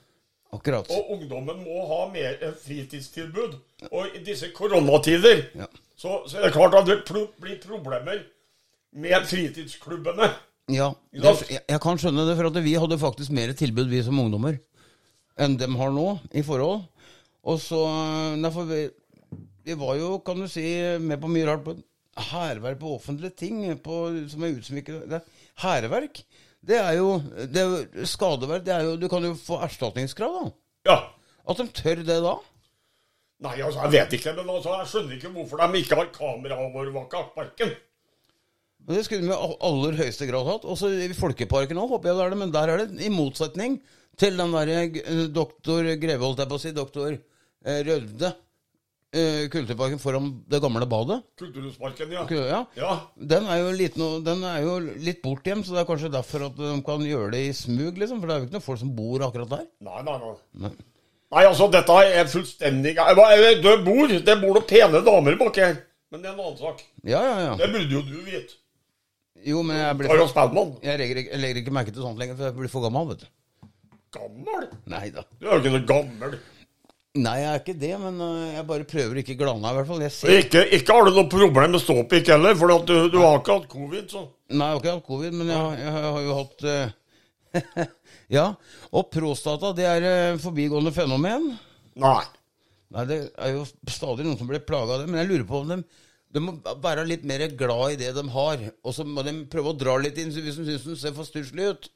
S1: Akkurat.
S2: Og ungdommen må ha mer eh, fritidstilbud. Og i disse koronatider
S1: Ja.
S2: så, så er det klart at det pro blir problemer med fritidsklubbene.
S1: Ja, det,
S2: sant?
S1: jeg, jeg kan skjønne det, for at vi hadde faktisk mer tilbud, vi som ungdommer, enn dem har nå, i forhold. Og så eh, Nei, for vi, vi var jo, kan du si, med på mye rart. på Hærverk på offentlige ting på, som er utsmykket Det- Hærverk, det er jo det er jo Skadeverk, det er jo Du kan jo få erstatningskrav, da.
S2: Ja.
S1: At de tør det da.
S2: Nei, altså, jeg vet ikke, men altså, jeg skjønner ikke hvorfor de ikke har kameraovervåka parken.
S1: Og Det skulle de i all- aller høyeste grad hatt. Også i Folkeparken òg, håper jeg det er det. Men der er det, i motsetning til den derre eh, doktor Greve, holdt jeg på å si, doktor eh, Røvde, eh, Kulturparken foran det gamle badet.
S2: Kulturhusparken, ja.
S1: Ku- Ja.
S2: Ja,
S1: Den er jo litt, no, den er jo litt bort igjen, så det er kanskje derfor at de kan gjøre det i smug, liksom. For det er jo ikke noen folk som bor akkurat der.
S2: Nei, nei, nei. Nei, altså, dette er fullstendig Du bor, Det bor noen pene damer bak her. Men det er en annen sak.
S1: Ja, ja, ja.
S2: Det burde jo du vite.
S1: Jo, men jeg blir
S2: Harald Spellmann.
S1: jeg legger, ikke- jeg legger ikke merke til sånt lenger, for jeg blir for gammel, vet du.
S2: Gammel?
S1: Nei da.
S2: Du er jo ikke noe gammel.
S1: Nei, jeg er ikke det, men eh, jeg bare prøver å ikke glane meg, i hvert fall. Jeg ser
S2: Ikke, ikke har du noe problem med ståpikk heller, for at du, du har ikke hatt covid, så
S1: Nei, jeg har ikke hatt covid, men jeg, har- jeg har jo hatt eh, Ja. Og prostata, det er eh, forbigående fenomen.
S2: Nei.
S1: Nei, det er jo stadig noen som blir plaga av det, men jeg lurer på om de, de må være litt mer glad i det de har. Og så må de prøve å dra litt inn hvis de syns de ser for stusslig ut.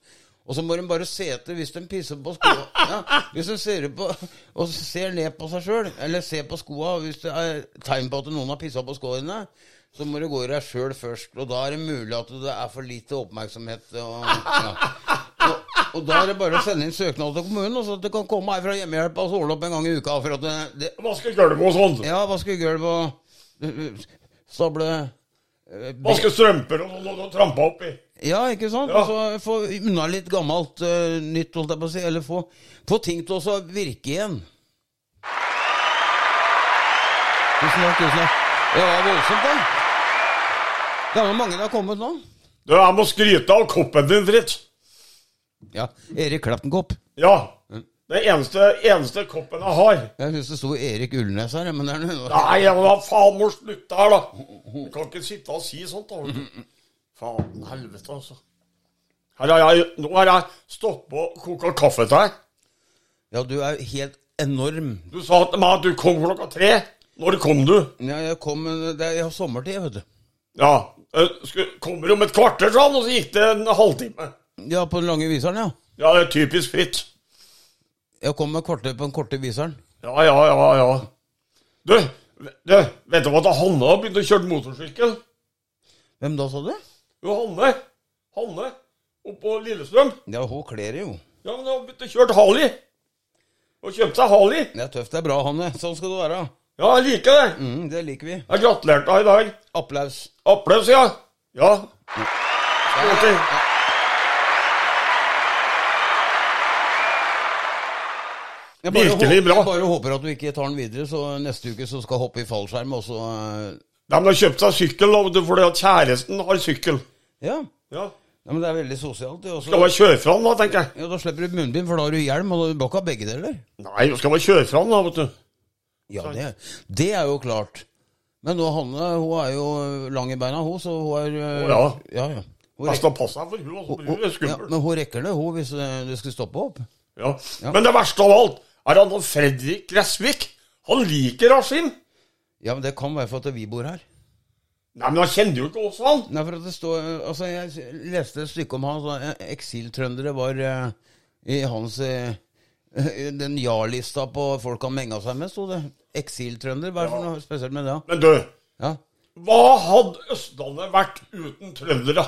S1: Og så må de bare se etter hvis de pisser på skoa. Ja, hvis de ser på, og ser ned på seg sjøl, eller ser på skoa hvis det er tegn på at noen har pissa på skoa dine, så må du gå i deg sjøl først. Og da er det mulig at det er for lite oppmerksomhet. Og, ja. og, og da er det bare å sende inn søknad til kommunen, og så at det kan komme ei fra hjemmehjelp og så ordne opp en gang i uka. For at det, det,
S2: Vaske gulv og sånn.
S1: ja, vaske gulv og øh, stable øh, be-
S2: Vaske strømper og sånn, og så trampa oppi.
S1: Ja, ikke sant?
S2: Ja.
S1: Og så få unna litt gammelt øh, nytt, holdt jeg på å si. Eller få, få ting til å virke igjen. Tusen takk, tusen takk. Ja, det var voldsomt, det. Det er jo mange det har kommet nå.
S2: Du, jeg må skryte av koppen din, Fritz.
S1: Ja, Erik Kleptenkopp.
S2: Ja. Det er eneste, eneste koppen jeg har.
S1: Jeg syns det sto Erik Ulnes her, men det er noe
S2: Nei, ja, men da faen må slutte her, da. Du kan ikke sitte og si sånt, da. Faen helvete, altså. Her har jeg, nå har jeg stoppa og koka kaffe til deg.
S1: Ja, du er helt enorm.
S2: Du sa til meg at du kom klokka tre. Når kom du?
S1: Ja, jeg kom eh, Det er jeg har sommertid, vet du.
S2: Ja. eh, sku- Kommer om et kvarter, sa han, og så gikk det en halvtime.
S1: Ja, på den lange viseren, ja.
S2: Ja, det er typisk fritt.
S1: Jeg kom med kvarter på den korte viseren.
S2: Ja, ja, ja, ja. Du, v- du vet du hva da Hanne har begynt å kjøre motorsykkel?
S1: Hvem da, sa du?
S2: Jo, Hanne. Hanne oppå Lillestrøm.
S1: Ja, hun kler det jo.
S2: Ja, men hun har begynt å kjøre Harley. Og kjøpt seg Harley.
S1: Det er tøft, det er bra, Hanne. Sånn skal det være.
S2: Ja, jeg liker det.
S1: Mm, det liker vi.
S2: Jeg gratulerte deg i dag.
S1: Applaus.
S2: Applaus, ja. Ja. Skål.
S1: Jeg
S2: Virkelig
S1: håper,
S2: bra.
S1: Jeg bare håper at du ikke tar den videre, så neste uke så skal jeg hoppe i fallskjerm, og så eh,
S2: De har kjøpt seg sykkel da, vet du, fordi at kjæresten har sykkel.
S1: Ja.
S2: Ja.
S1: ja men det er veldig sosialt. det også.
S2: Skal bare kjøre fram, da, tenker jeg.
S1: Ja, Da slipper du munnbind, for da har du hjelm, og du bør ikke ha begge deler.
S2: Nei, du skal bare kjøre fram, da, vet du.
S1: Ja, det, det er jo klart. Men nå, Hanne hun er jo lang i beina, hun, så hun er eh,
S2: Å, ja.
S1: ja, ja. Hun
S2: Jeg
S1: rekker,
S2: skal passe deg for hun, altså.
S1: hun,
S2: Hun er
S1: ja,
S2: skummel.
S1: men hun rekker det, hun, hvis eh, det skulle stoppe opp.
S2: Ja. Men det verste av alt er at han Fredrik Gressvik, han liker Askim.
S1: Ja, men det kan være for at vi bor her.
S2: Nei, men han kjenner jo ikke oss, han.
S1: Nei, for at det står eh, Altså, jeg s- leste et stykke om han. så, eh, Eksiltrøndere var eh, i hans eh, i Den ja-lista på folk han menga seg med, sto det. Eksiltrønder. Hva er det for noe spesielt med det? da?
S2: Men du,
S1: Ja.
S2: hva hadde Østlandet vært uten trøndere?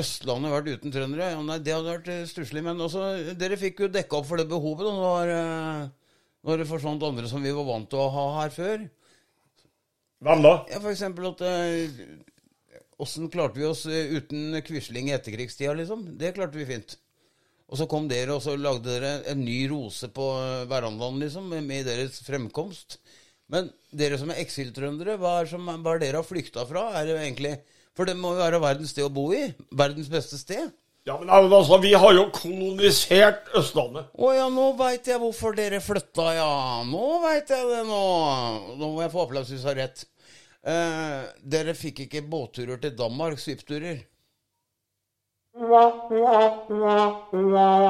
S1: Østlandet vært uten trøndere? Ja, nei, det hadde vært eh, stusslig. Men også, dere fikk jo dekka opp for det behovet. Da. Det var eh, når det forsvant andre som vi var vant til å ha her før.
S2: Hvem da?
S1: Ja, for eksempel at eh, Åssen klarte vi oss eh, uten Quisling i etterkrigstida, liksom? Det klarte vi fint. Og så kom dere, og så lagde dere en ny rose på eh, verandaen, liksom, med- med deres fremkomst. Men dere som er eksiltrøndere, hva er, som, hva er dere har flykta fra? Er det jo egentlig For det må jo være verdens sted å bo i. Verdens beste sted.
S2: Ja, men altså, vi har jo kolonisert Østlandet.
S1: Å ja, nå veit jeg hvorfor dere flytta, ja. Nå veit jeg det, nå. Nå må jeg få applaus hvis jeg har rett. Eh, dere fikk ikke båtturer til Danmark, svipturer.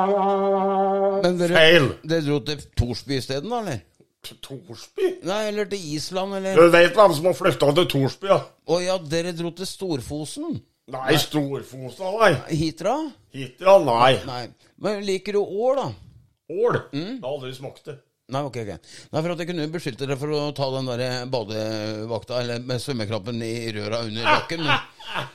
S1: Men dere,
S2: Feil.
S1: dere dro til Torsby isteden, da, eller?
S2: T- Torsby?
S1: Nei, eller til Island,
S2: Du
S1: eller?
S2: veit hvem som har flytta til Torsby, ja?
S1: Å ja, dere dro til Storfosen.
S2: Nei, Storfosa, nei.
S1: Hitra?
S2: Hitra, nei.
S1: Nei. Men liker du år, da?
S2: Ål. Det har aldri smakt det.
S1: Nei, ok, ok. Nei, for at jeg kunne beskyldt dere for å ta den der badevakta, eller med svømmekrabben i røra under jakken. Men,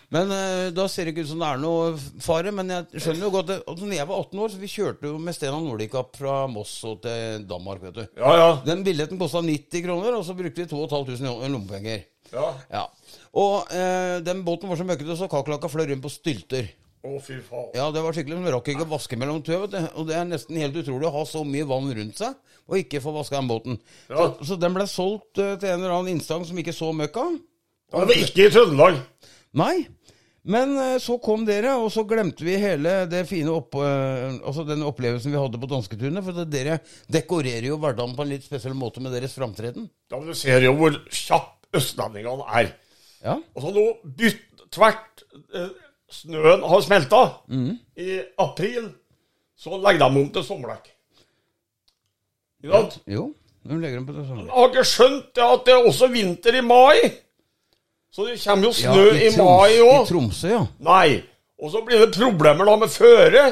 S1: men eh, da ser det ikke ut som det er noe fare. Men jeg skjønner jo godt det. Og når jeg var 18 år, så vi kjørte jo med Stena Nordic opp fra Moss og til Danmark, vet du.
S2: Ja, ja.
S1: Den billetten kosta 90 kroner, og så brukte vi 2500 i lommepenger.
S2: ja.
S1: Ja. Og eh, den båten var så møkkete, så kakerlakka fløy rundt på stylter.
S2: Å, fy faen.
S1: Ja, det var skikkelig. men Vi rakk ikke å vaske mellom tøv. vet du. Og det er nesten helt utrolig å ha så mye vann rundt seg og ikke få vaska den båten. Så,
S2: Ja.
S1: så den ble solgt eh, til en eller annen instans som ikke så møkka.
S2: Ja, det var ikke i Trøndelag.
S1: Nei. Men eh, så kom dere, og så glemte vi hele det fine opp, eh, altså den opplevelsen vi hadde på dansketunet. For det- dere dekorerer jo hverdagen på en litt spesiell måte med deres framtreden.
S2: Ja, men Du ser jo hvor kjapp østlendingene er.
S1: Ja.
S2: Og så nå bytt tvert eh, Snøen har smelta.
S1: Mm.
S2: I april så legger de om til sommerdekk. Ikke sant?
S1: Jo. Hun legger dem på det samme.
S2: Jeg har ikke skjønt det at det er også vinter i mai. Så det kommer jo
S1: Ja,
S2: snø i,
S1: Troms-
S2: mai
S1: I
S2: òg.
S1: Tromsø, ja.
S2: Nei. Og så blir det problemer da med føre.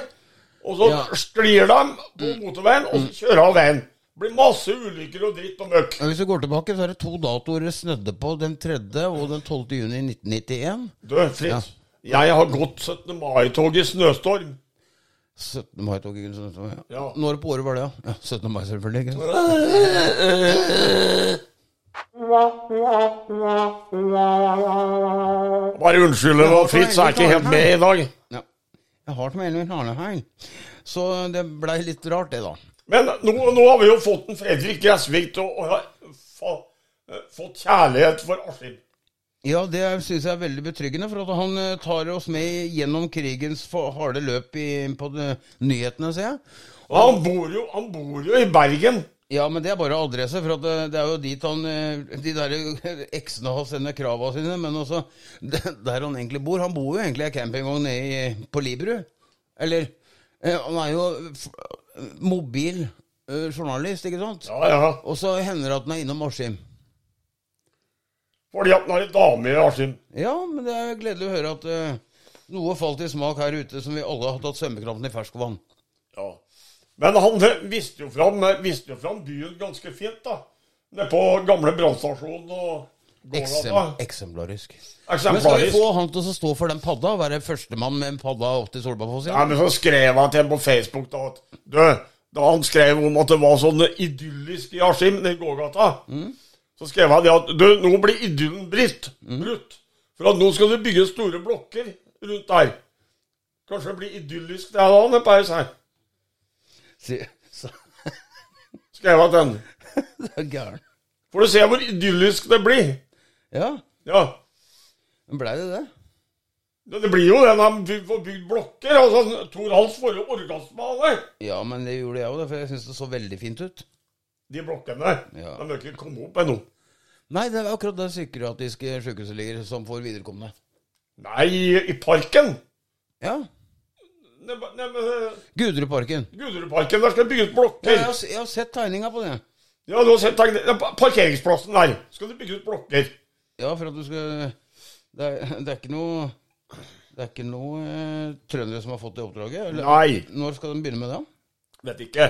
S2: Og så
S1: Ja. Mm.
S2: sklir de på motorveien, og så kjører av veien. Det blir masse ulykker og dritt og møkk.
S1: Ja, Hvis vi går tilbake, så er det to datoer det snødde på. Den 3. og den 12. juni 1991.
S2: Du, Fritz. Jeg har gått 17. mai-tog i snøstorm.
S1: 17. mai tok ikke sånn. sånn, Ja.
S2: Ja.
S1: Når på året var det, ja? ja 17. mai, selvfølgelig. ikke sant?
S2: Bare unnskyld, det var Fritz jeg er ikke helt med i dag.
S1: Ja. Jeg har det med Elvin Arneheim. Så det blei litt rart, det, da.
S2: Men nå, nå har vi jo fått en Fredrik Gressvik til å ha fa, eh, fått kjærlighet for Askim.
S1: Ja, det syns jeg er veldig betryggende, for at han eh, tar oss med gjennom krigens fa- harde løp i, på de, nyhetene, ser jeg.
S2: Og han bor jo, han bor jo i Bergen.
S1: Ja, men det er bare adresse, for at det, det er jo dit han eh, De der eh, eksene har sender krava sine, men også de- der han egentlig bor. Han bor jo egentlig i en campingvogn nede i- på Libru. Eller eh, Han er jo f- mobil eh, journalist, ikke sant?
S2: Ja, ja.
S1: Og så hender det at han er innom Askim.
S2: Fordi at han har en dame i Askim.
S1: Ja, men det er gledelig å høre at eh, noe falt i smak her ute som vi alle har tatt svømmekrampen i ferskvann.
S2: Ja. Men han eh, viste jo, fram, viste jo fram byen ganske fint, da. Nede på gamle brannstasjonen og gårda.
S1: Eksem, eksemplarisk. Men skal vi
S2: Eksemplarisk.
S1: få han til å stå for den padda? og Være førstemann med en padda opp til Solbakkfoss?
S2: Ja,
S1: Ja.
S2: men så skrev han til ham på Facebook da at Du, da han skrev om at det var sånn idyllisk i Askim, den gågata, så skrev han det at Du, nå blir idyllen brutt. brutt. For at nå skal du bygge store blokker rundt der. Kanskje det blir idyllisk det da, med Paus her.
S1: Si- så-
S2: Skrev han den.
S1: Det er gæren.
S2: For du ser hvor idyllisk det blir.
S1: Ja,
S2: Ja.
S1: blei det det?
S2: Det det blir jo det når de får bygd blokker. Altså, Tor Hals får jo orgasme av det.
S1: Ja, men det gjorde jeg òg, for jeg syns det så veldig fint ut.
S2: De blokkene der.
S1: Ja.
S2: De har ikke kommet opp ennå.
S1: Nei, det er akkurat det psykiatriske sjukehuset ligger, som får viderekomne.
S2: Nei, i parken.
S1: Ja.
S2: Nei, nei, men
S1: Guderudparken.
S2: Guderudparken, der skal det bygges
S1: Ja,
S2: blokker.
S1: jeg, har s- jeg har sett tegninga på det.
S2: Ja, du har sett tegnet. Ja, pa- Parkeringsplassen der skal det bygges blokker.
S1: Ja, for at du skal Det er, det er ikke noe Det er ikke noe eh, trøndere som har fått det oppdraget? Eller,
S2: Nei,
S1: Når skal de begynne med det?
S2: vet ikke.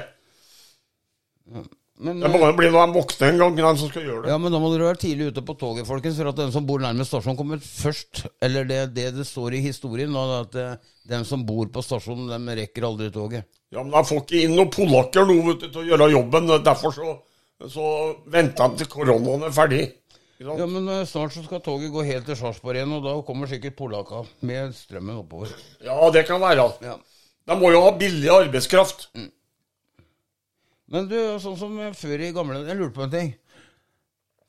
S1: Men,
S2: Det må jo bli når de våkner en gang, de som skal gjøre det.
S1: ja, men da må dere være tidlig ute på toget, folkens, for at den som bor nærmest stasjonen, kommer først. Eller det det, det står i historien, da, at eh, den som bor på stasjonen, dem rekker aldri toget.
S2: Ja, men de får ikke inn noen polakker nå, vet du, til å gjøre jobben. Derfor så Så venter de til koronaen er ferdig. Ikke sant?
S1: Ja, men eh, snart så skal toget gå helt til Sarpsborg igjen, og da kommer sikkert polakka med strømmen oppover.
S2: Ja, det kan være.
S1: Ja. Mm.
S2: De må jo ha billig arbeidskraft.
S1: Men du, sånn som før i gamle Jeg lurte på en ting.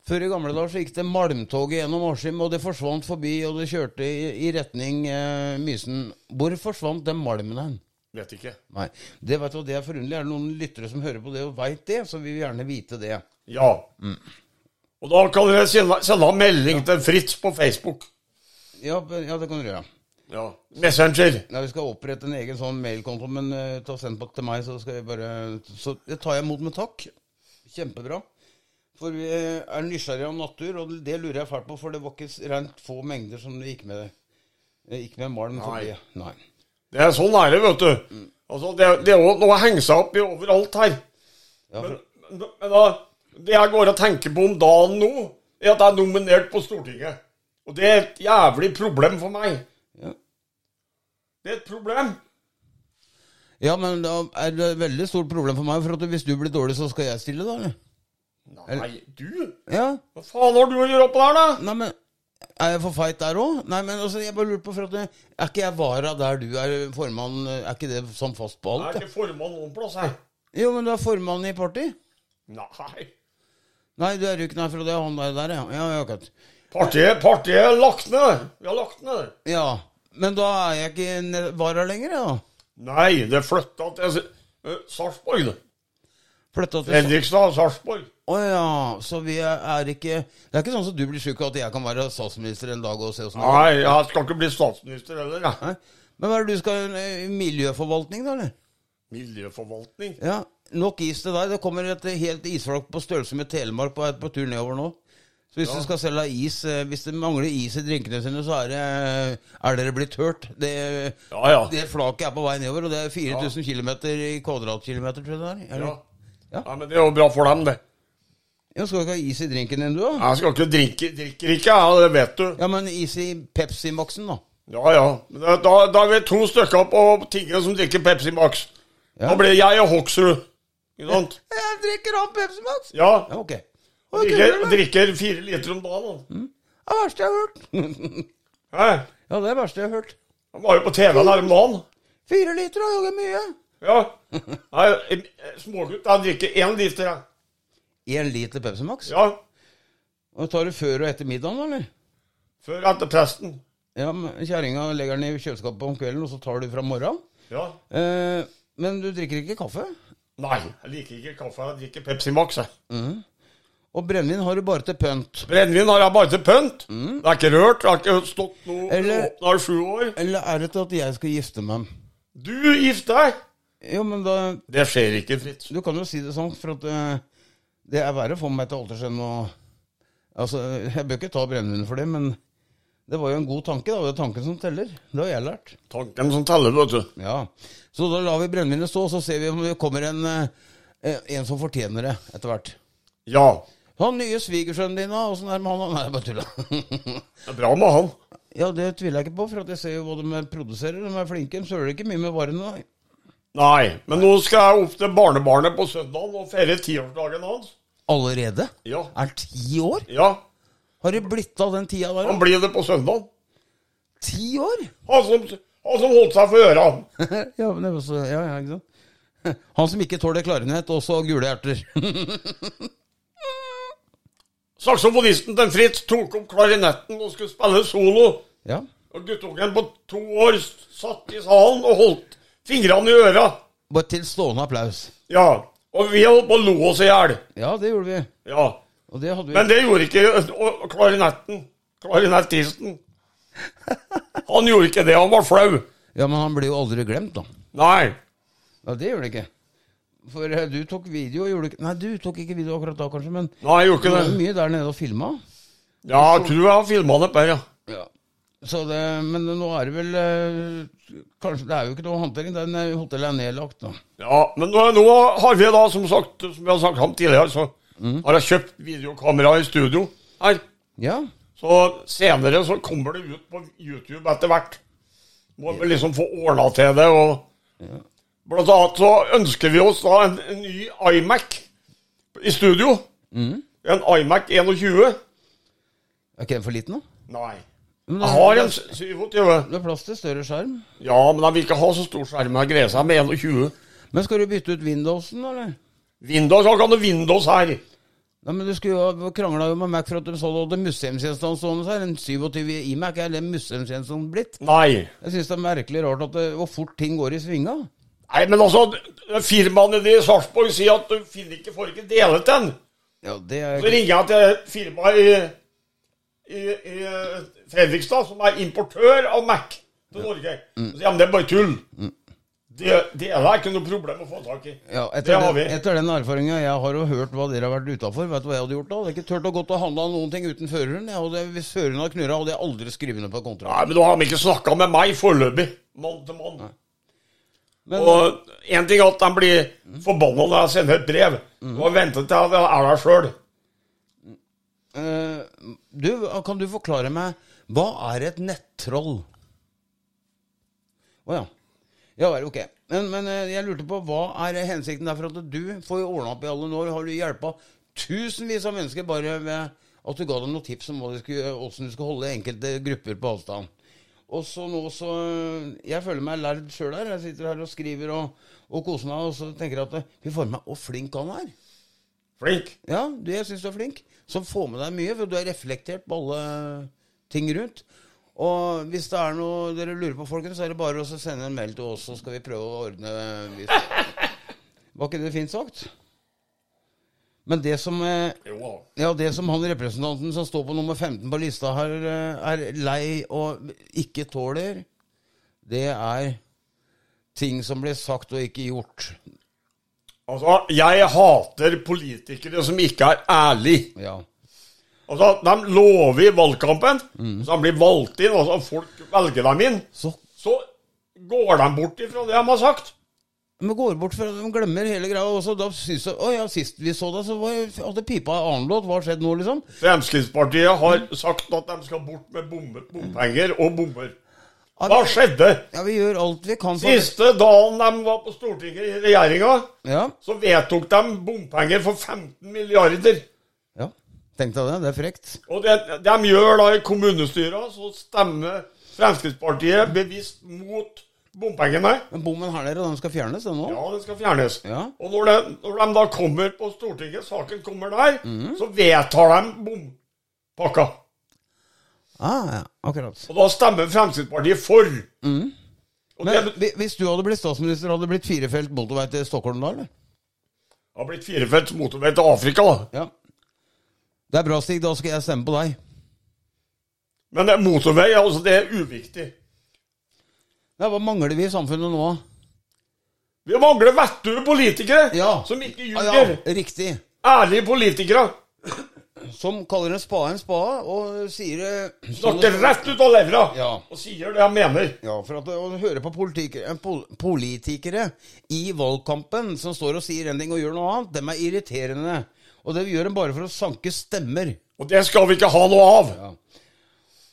S1: Før i gamle dager så gikk det malmtoget gjennom Askim, og det forsvant forbi, og det kjørte i, i retning eh, Mysen. Hvor forsvant den malmen hen?
S2: Vet ikke.
S1: Nei, det vet du, og det er forunderlig. Er det noen lyttere som hører på det og veit det, så vi vil gjerne vite det.
S2: Ja.
S1: Mm.
S2: Og da kan dere sende, sende en melding til Fritz på Facebook.
S1: Ja, b- ja det kan du gjøre.
S2: Ja. Messenger.
S1: Ja, vi skal opprette en egen sånn mailkonto, men eh, ta send på til meg, så skal jeg bare Så det tar jeg imot med takk. Kjempebra. For vi eh, er nysgjerrige om natur, og det lurer jeg fælt på, for det var ikke s- rent få mengder som det gikk med det. Det gikk med malm.
S2: Nei.
S1: forbi. Nei.
S2: Det er sånn er det, vet du. Altså, det, det er jo noe å henge seg opp i overalt her.
S1: Ja,
S2: Men,
S1: for,
S2: men, men da, det jeg går og tenker på om dagen nå, er at jeg er nominert på Stortinget. Og det er et jævlig problem for meg.
S1: ja.
S2: Det er et problem.
S1: ja, men da er det et veldig stort problem for meg, for at hvis du blir dårlig, så skal jeg stille, da? eller?
S2: Nei, du?
S1: Ja?
S2: Hva faen har du å gjøre oppå der, da?
S1: Nei, men Er jeg for feit der òg? Nei, men altså, jeg bare lurer på, for at det- Er ikke jeg vara der du er formann? Er ikke det sånn fast på
S2: Jeg
S1: alt?
S2: er ikke formann noen plass, jeg.
S1: ja? Jo, men du er formann i party?
S2: Nei.
S1: Nei, du er jo ikke nei, for det er han der, der ja. Ja, ja, akkurat.
S2: Partiet, partiet er lagt ned. Vi har lagt ned.
S1: ja. Men da er jeg ikke ne- vara lenger, jeg, da.
S2: Nei, det flytta til eh, Sarpsborg. det.
S1: Flytta til
S2: Fredrikstad, Sarpsborg.
S1: Å ja, så vi er, er ikke Det er ikke sånn som du blir syk og at jeg kan være statsminister en dag og se åssen det går.
S2: Nei, jeg skal ikke bli statsminister heller, jeg.
S1: Nei. Men hva er det du skal eh, Miljøforvaltning, da, eller?
S2: Miljøforvaltning.
S1: Ja. Nok is til deg. Det kommer et eh, helt isflak på størrelse med Telemark på, på tur nedover nå. Så hvis du skal selge is eh, Hvis det mangler is i drinkene sine, så er, det, eh, er dere blitt hørt. Det
S2: Ja, ja.
S1: Det flaket er på vei nedover, og det er 4000 km i kvadratkilometer, tror jeg det er.
S2: ja.
S1: Eller? Ja.
S2: Nei, men det er jo bra for dem, det.
S1: Ja, skal du ikke ha is i drinken din, du, da?
S2: Jeg skal ikke drikke, drikker ikke, jeg, det vet du.
S1: Ja, men is i Pepsi-maksen, da.
S2: Ja, ja. Men Da, da- da er vi to stykker på tingene som drikker Pepsi Max.
S1: Ja.
S2: Da blir jeg og Hoksrud. Ikke sant?
S1: Jeg drikker all Pepsi-max!
S2: Ja.
S1: Ja, ok. Hva
S2: Drikker,
S1: kødder du med?
S2: drikker fire liter om dagen.
S1: Det
S2: da.
S1: er det verste jeg har hørt.
S2: Hæ?
S1: ja, det er det verste jeg har hørt.
S2: Han var jo på TV der om dagen.
S1: Fire liter er jo ikke mye.
S2: Ja. Nei, en- en smågutt, jeg drikker én liter, jeg.
S1: Én liter Pepsi-max?
S2: Ja.
S1: Og Tar du før og etter middagen, eller?
S2: Før etter presten.
S1: Ja, men Kjerringa legger den i kjøleskapet om kvelden, og så tar du fra morgenen.
S2: Ja.
S1: Eh, men du drikker ikke kaffe?
S2: Nei, jeg liker ikke kaffe. Jeg drikker Pepsi Max. jeg.
S1: Mm. Og brennevin har du bare til pønt.
S2: Brennevin har jeg bare til pynt. Det er ikke rørt. Jeg har ikke stått noe
S1: Eller-
S2: åpna i sju år.
S1: Eller er det til at jeg skal gifte meg?
S2: Du gifter deg!
S1: Jo, men da
S2: Det skjer ikke, Fritz.
S1: Du kan jo si det sånn, for at eh, det er verre å få meg til alters enn å Altså, jeg bør ikke ta brennevin for det, men det var jo en god tanke, da. Det er tanken som teller. Det har jeg lært.
S2: Tanken som teller, vet du.
S1: Ja. Så da lar vi brennevinet stå, og så ser vi om det kommer en, eh, en som fortjener det, etter hvert.
S2: Ja.
S1: Han nye svigersønnen din, da? Åssen er det med han? Nei, jeg bare tulla.
S2: Det er bra med han.
S1: ja, det tviler jeg ikke på, for at jeg ser jo hva de produserer. De er flinke. De søler ikke mye med varene. da.
S2: Nei, men nå skal jeg opp til barnebarnet på søndag og feire tiårsdagen hans.
S1: Allerede?
S2: Ja.
S1: Er han ti år?
S2: Ja.
S1: Har det blitt av den tida der?
S2: Han blir det på søndag.
S1: da? Ti år?
S2: Han som, han som holdt seg for øra.
S1: ja, men det var så, ja, ja, ikke sant? Han som ikke tåler klarinett, også gule erter.
S2: Saksofonisten til Fritz tok opp klarinetten og skulle spille solo.
S1: ja.
S2: Og guttungen på to år s- satt i salen og holdt fingrene i øra.
S1: Bare til stående applaus.
S2: Ja. Og vi holdt på å lo oss i hjel.
S1: Ja, det gjorde vi.
S2: Ja.
S1: Og det hadde vi.
S2: Men det gjorde ikke og- og klarinetten. Klarinettisten. Han gjorde ikke det. Han var flau.
S1: Ja, men han blir jo aldri glemt, da.
S2: Nei.
S1: Ja, det gjør det ikke. For eh, du tok video, gjorde du ikke Nei, du tok ikke video akkurat da, kanskje, men
S2: Nei, jeg gjorde
S1: du
S2: ikke
S1: var
S2: det.
S1: jo mye der nede og filma.
S2: Ja, jeg tror jeg har filma det bare. ja.
S1: Ja. Så det, men nå er det vel eh, Kanskje det er jo ikke noe håndtering. Den eh, hotellet er nedlagt, da.
S2: Ja, men nå, nå har vi da, som sagt, som vi har sagt om tidligere, så har jeg kjøpt videokamera i studio her.
S1: Ja.
S2: Så senere så kommer det ut på YouTube etter hvert. Må vi liksom få ordna til det og Blant annet så ønsker vi oss da en, en ny iMac i studio. En iMac 21.
S1: Er ikke den for liten, da?
S2: Nei.
S1: Men
S2: Jeg
S1: det-
S2: har en 27.
S1: Det er plass til større skjerm.
S2: Ja, men jeg vil ikke ha så stor skjerm. Jeg greier seg med 21.
S1: Men skal du bytte ut Windowsen, eller?
S2: Windows, jeg kan ha Windows her.
S1: Nei, men Du skulle jo krangla jo med Mac for at de så du hadde museumsgjenstand stående her. En 27 iMac er det museumsgjenstand blitt.
S2: Nei.
S1: Jeg syns det er merkelig rart at det, hvor fort ting går i svinga.
S2: Nei, men altså, firmaene de i Sarpsborg sier at du finner ikke, får ikke delet den.
S1: Ja, det
S2: Så
S1: er
S2: ringer jeg til firmaet i, i, i Fredrikstad, som er importør av Mac til Norge. Så sier de det er bare tull. Det, det er da ikke noe problem å få tak i.
S1: ja,
S2: det
S1: etter,
S2: har vi.
S1: den, etter den erfaringa jeg har jo hørt hva dere har vært utafor, vet du hva jeg hadde gjort da? Jeg hadde ikke turt å gå til å handle noen ting uten føreren. Jeg hadde, hvis føreren hadde knurra, hadde jeg aldri skrevet ned på kontrakt.
S2: Nei, men nå har de ikke snakka med meg foreløpig, mann til mann.
S1: Men,
S2: Og én ting er at de blir forbanna når jeg sender et brev. Og venter til jeg er der sjøl.
S1: eh, du, kan du forklare meg Hva er et nettroll? Å ja. Ja vel, ok. Men, men eh, jeg lurte på hva er hensikten der for at du får jo ordna opp i alle år? Har du hjelpa tusenvis av mennesker bare ved at du ga dem noen tips om hva de skulle, hvordan du skulle holde enkelte grupper på avstand? Og så nå så eh, Jeg føler meg lærd sjøl her. Jeg sitter her og skriver og, og koser meg, og så tenker jeg at eh, fy faen meg, så flink han er.
S2: Flink.
S1: Ja, du, jeg syns du er flink. Som får med deg mye, for du er reflektert på alle ting rundt. Og hvis det er noe dere lurer på, folkens, så er det bare å sende en mail til oss, så skal vi prøve å ordne hvis... Var ikke det fint sagt? Men det som eh,
S2: Jo da.
S1: ja, det som han representanten som står på nummer 15 på lista her, eh, er lei og ikke tåler, det er ting som blir sagt og ikke gjort.
S2: Altså, jeg hater politikere som ikke er ærlige.
S1: Ja.
S2: Altså, de lover i valgkampen, så de blir valgt inn, altså folk velger dem inn.
S1: Så
S2: Så går de bort ifra det de har sagt.
S1: Men går bort fra De glemmer hele greia også. Da syns jeg Å ja, sist vi så deg, så var, hadde pipa en annen låt. Hva har skjedd nå, liksom?
S2: Fremskrittspartiet har sagt at de skal bort med bombe, bompenger og bomber.
S1: Ja,
S2: Hva
S1: vi-
S2: skjedde?
S1: Ja, vi gjør alt vi kan for
S2: Siste dagen de var på Stortinget i regjeringa,
S1: Ja.
S2: så vedtok de bompenger for 15 milliarder.
S1: ja. Tenk deg det. Det er frekt.
S2: Og det de gjør da i kommunestyra, så stemmer Fremskrittspartiet bevisst mot bompengene.
S1: Men bommen her nede, den skal fjernes, den nå?
S2: Ja, den skal fjernes.
S1: Ja.
S2: Og når de, når de da kommer på Stortinget, saken kommer der,
S1: Mhm.
S2: så vedtar de bompakka.
S1: Ah, ja. Akkurat.
S2: Og da stemmer Fremskrittspartiet for. Og det
S1: Mhm. Men hvi- hvis du hadde blitt statsminister, hadde det blitt firefelt motorvei til Stockholm da, eller?
S2: har blitt firefelts motorvei til Afrika, da.
S1: Ja. Det er bra, Stig. Da skal jeg stemme på deg.
S2: Men det er motorvei altså, det er uviktig.
S1: Nei, Hva mangler vi i samfunnet nå?
S2: Vi mangler vettuge politikere
S1: Ja.
S2: som ikke
S1: Ah,
S2: ljuger.
S1: ja, riktig.
S2: Ærlige politikere.
S1: Som kaller en spade en spade, og sier det
S2: Snakker rett ut av levra
S1: Ja.
S2: og sier det jeg mener.
S1: Ja, for at å høre på politikere, pol politikere i valgkampen som står og sier en ting og gjør noe annet, dem er irriterende. Og det gjør dem bare for å sanke stemmer.
S2: Og det skal vi ikke ha noe av.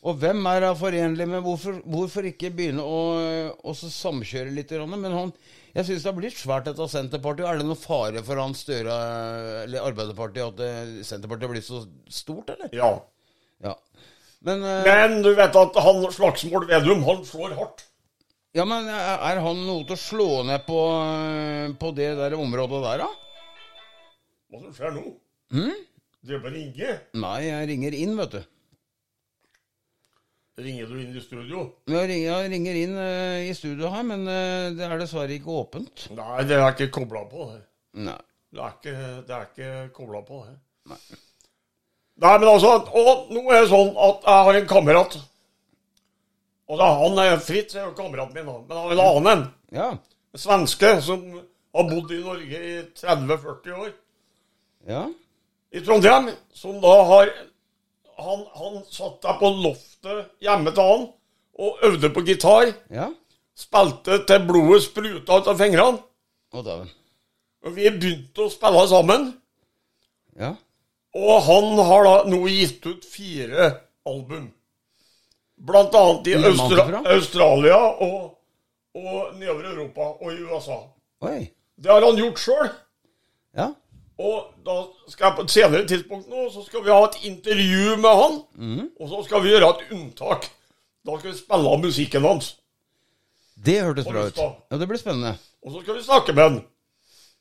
S1: Og hvem er da forenlig med Hvorfor, hvorfor ikke begynne å å så samkjøre litt? grann? Men han, jeg syns det har blitt svært dette av Senterpartiet. Er det noen fare for han Støre eller Arbeiderpartiet at eh, Senterpartiet har blitt så stort, eller?
S2: Ja.
S1: Ja. Men, eh,
S2: Men du vet at han Slagsmål Vedum, han slår hardt.
S1: ja, men er er han noe til å slå ned på, eh, på det der området der, da? Hm?
S2: Hva som skjer nå? Det er bare å ringe.
S1: Nei, jeg ringer inn, vet du.
S2: Ringer du inn i studio?
S1: Jeg ringer, jeg ringer inn eh, i studio her, men eh, det er dessverre ikke åpent.
S2: Nei, det er ikke kobla på. det.
S1: Nei.
S2: Det er ikke, det er ikke kobla på, det. Nei, men altså Og nå er det sånn at jeg har en kamerat. Og da, han er Fritz er jo kameraten min, da, men han er en annen en.
S1: Ja.
S2: En svenske som har bodd i Norge i 30-40 år.
S1: Ja.
S2: i Trondheim, som da har Han, han satt der på loftet hjemme til han og øvde på gitar.
S1: Ja.
S2: Spilte til blodet spruta ut av fingrene.
S1: Å, dæven.
S2: Og vi begynte å spille sammen.
S1: Ja.
S2: Og han har da nå gitt ut fire album. Blant annet i
S1: Hvor er
S2: Austra
S1: han fra?
S2: Australia og, og nedover i Europa og i USA.
S1: Oi.
S2: Det har han gjort sjøl.
S1: Ja.
S2: Og da skal jeg på et senere tidspunkt nå, så skal vi ha et intervju med han.
S1: Mhm.
S2: Og så skal vi gjøre et unntak. Da skal vi spille av musikken hans.
S1: Det hørtes
S2: Har
S1: bra
S2: du
S1: ut.
S2: lyst
S1: Ja, Det blir spennende.
S2: Og så skal vi snakke med han.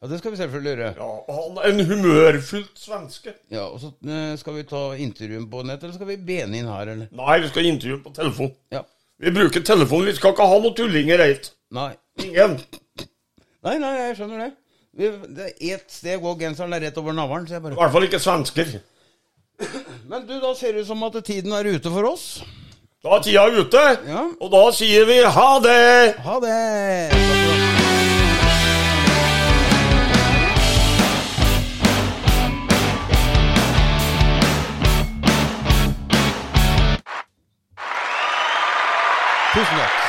S1: Ja, Det skal vi selvfølgelig gjøre.
S2: Ja, og han er en humørfylt svenske.
S1: Ja, og så eh, Skal vi ta intervjuen på nett, eller skal vi bene inn her? eller?
S2: Nei, vi skal intervjue ham på telefon.
S1: Ja.
S2: Vi bruker telefon. Vi skal ikke ha noe tullinger eit.
S1: Nei.
S2: Ingen.
S1: Nei, nei, jeg skjønner det. Vi, det er ett sted å gå genseren, det er rett over navlen. så jeg
S2: I
S1: bare...
S2: hvert fall ikke svensker.
S1: Men du, da ser det ut som at tiden er ute for oss.
S2: Da er tida ute,
S1: Ja.
S2: og da sier vi ha det!
S1: Ha det! Takk for at- Tusen takk.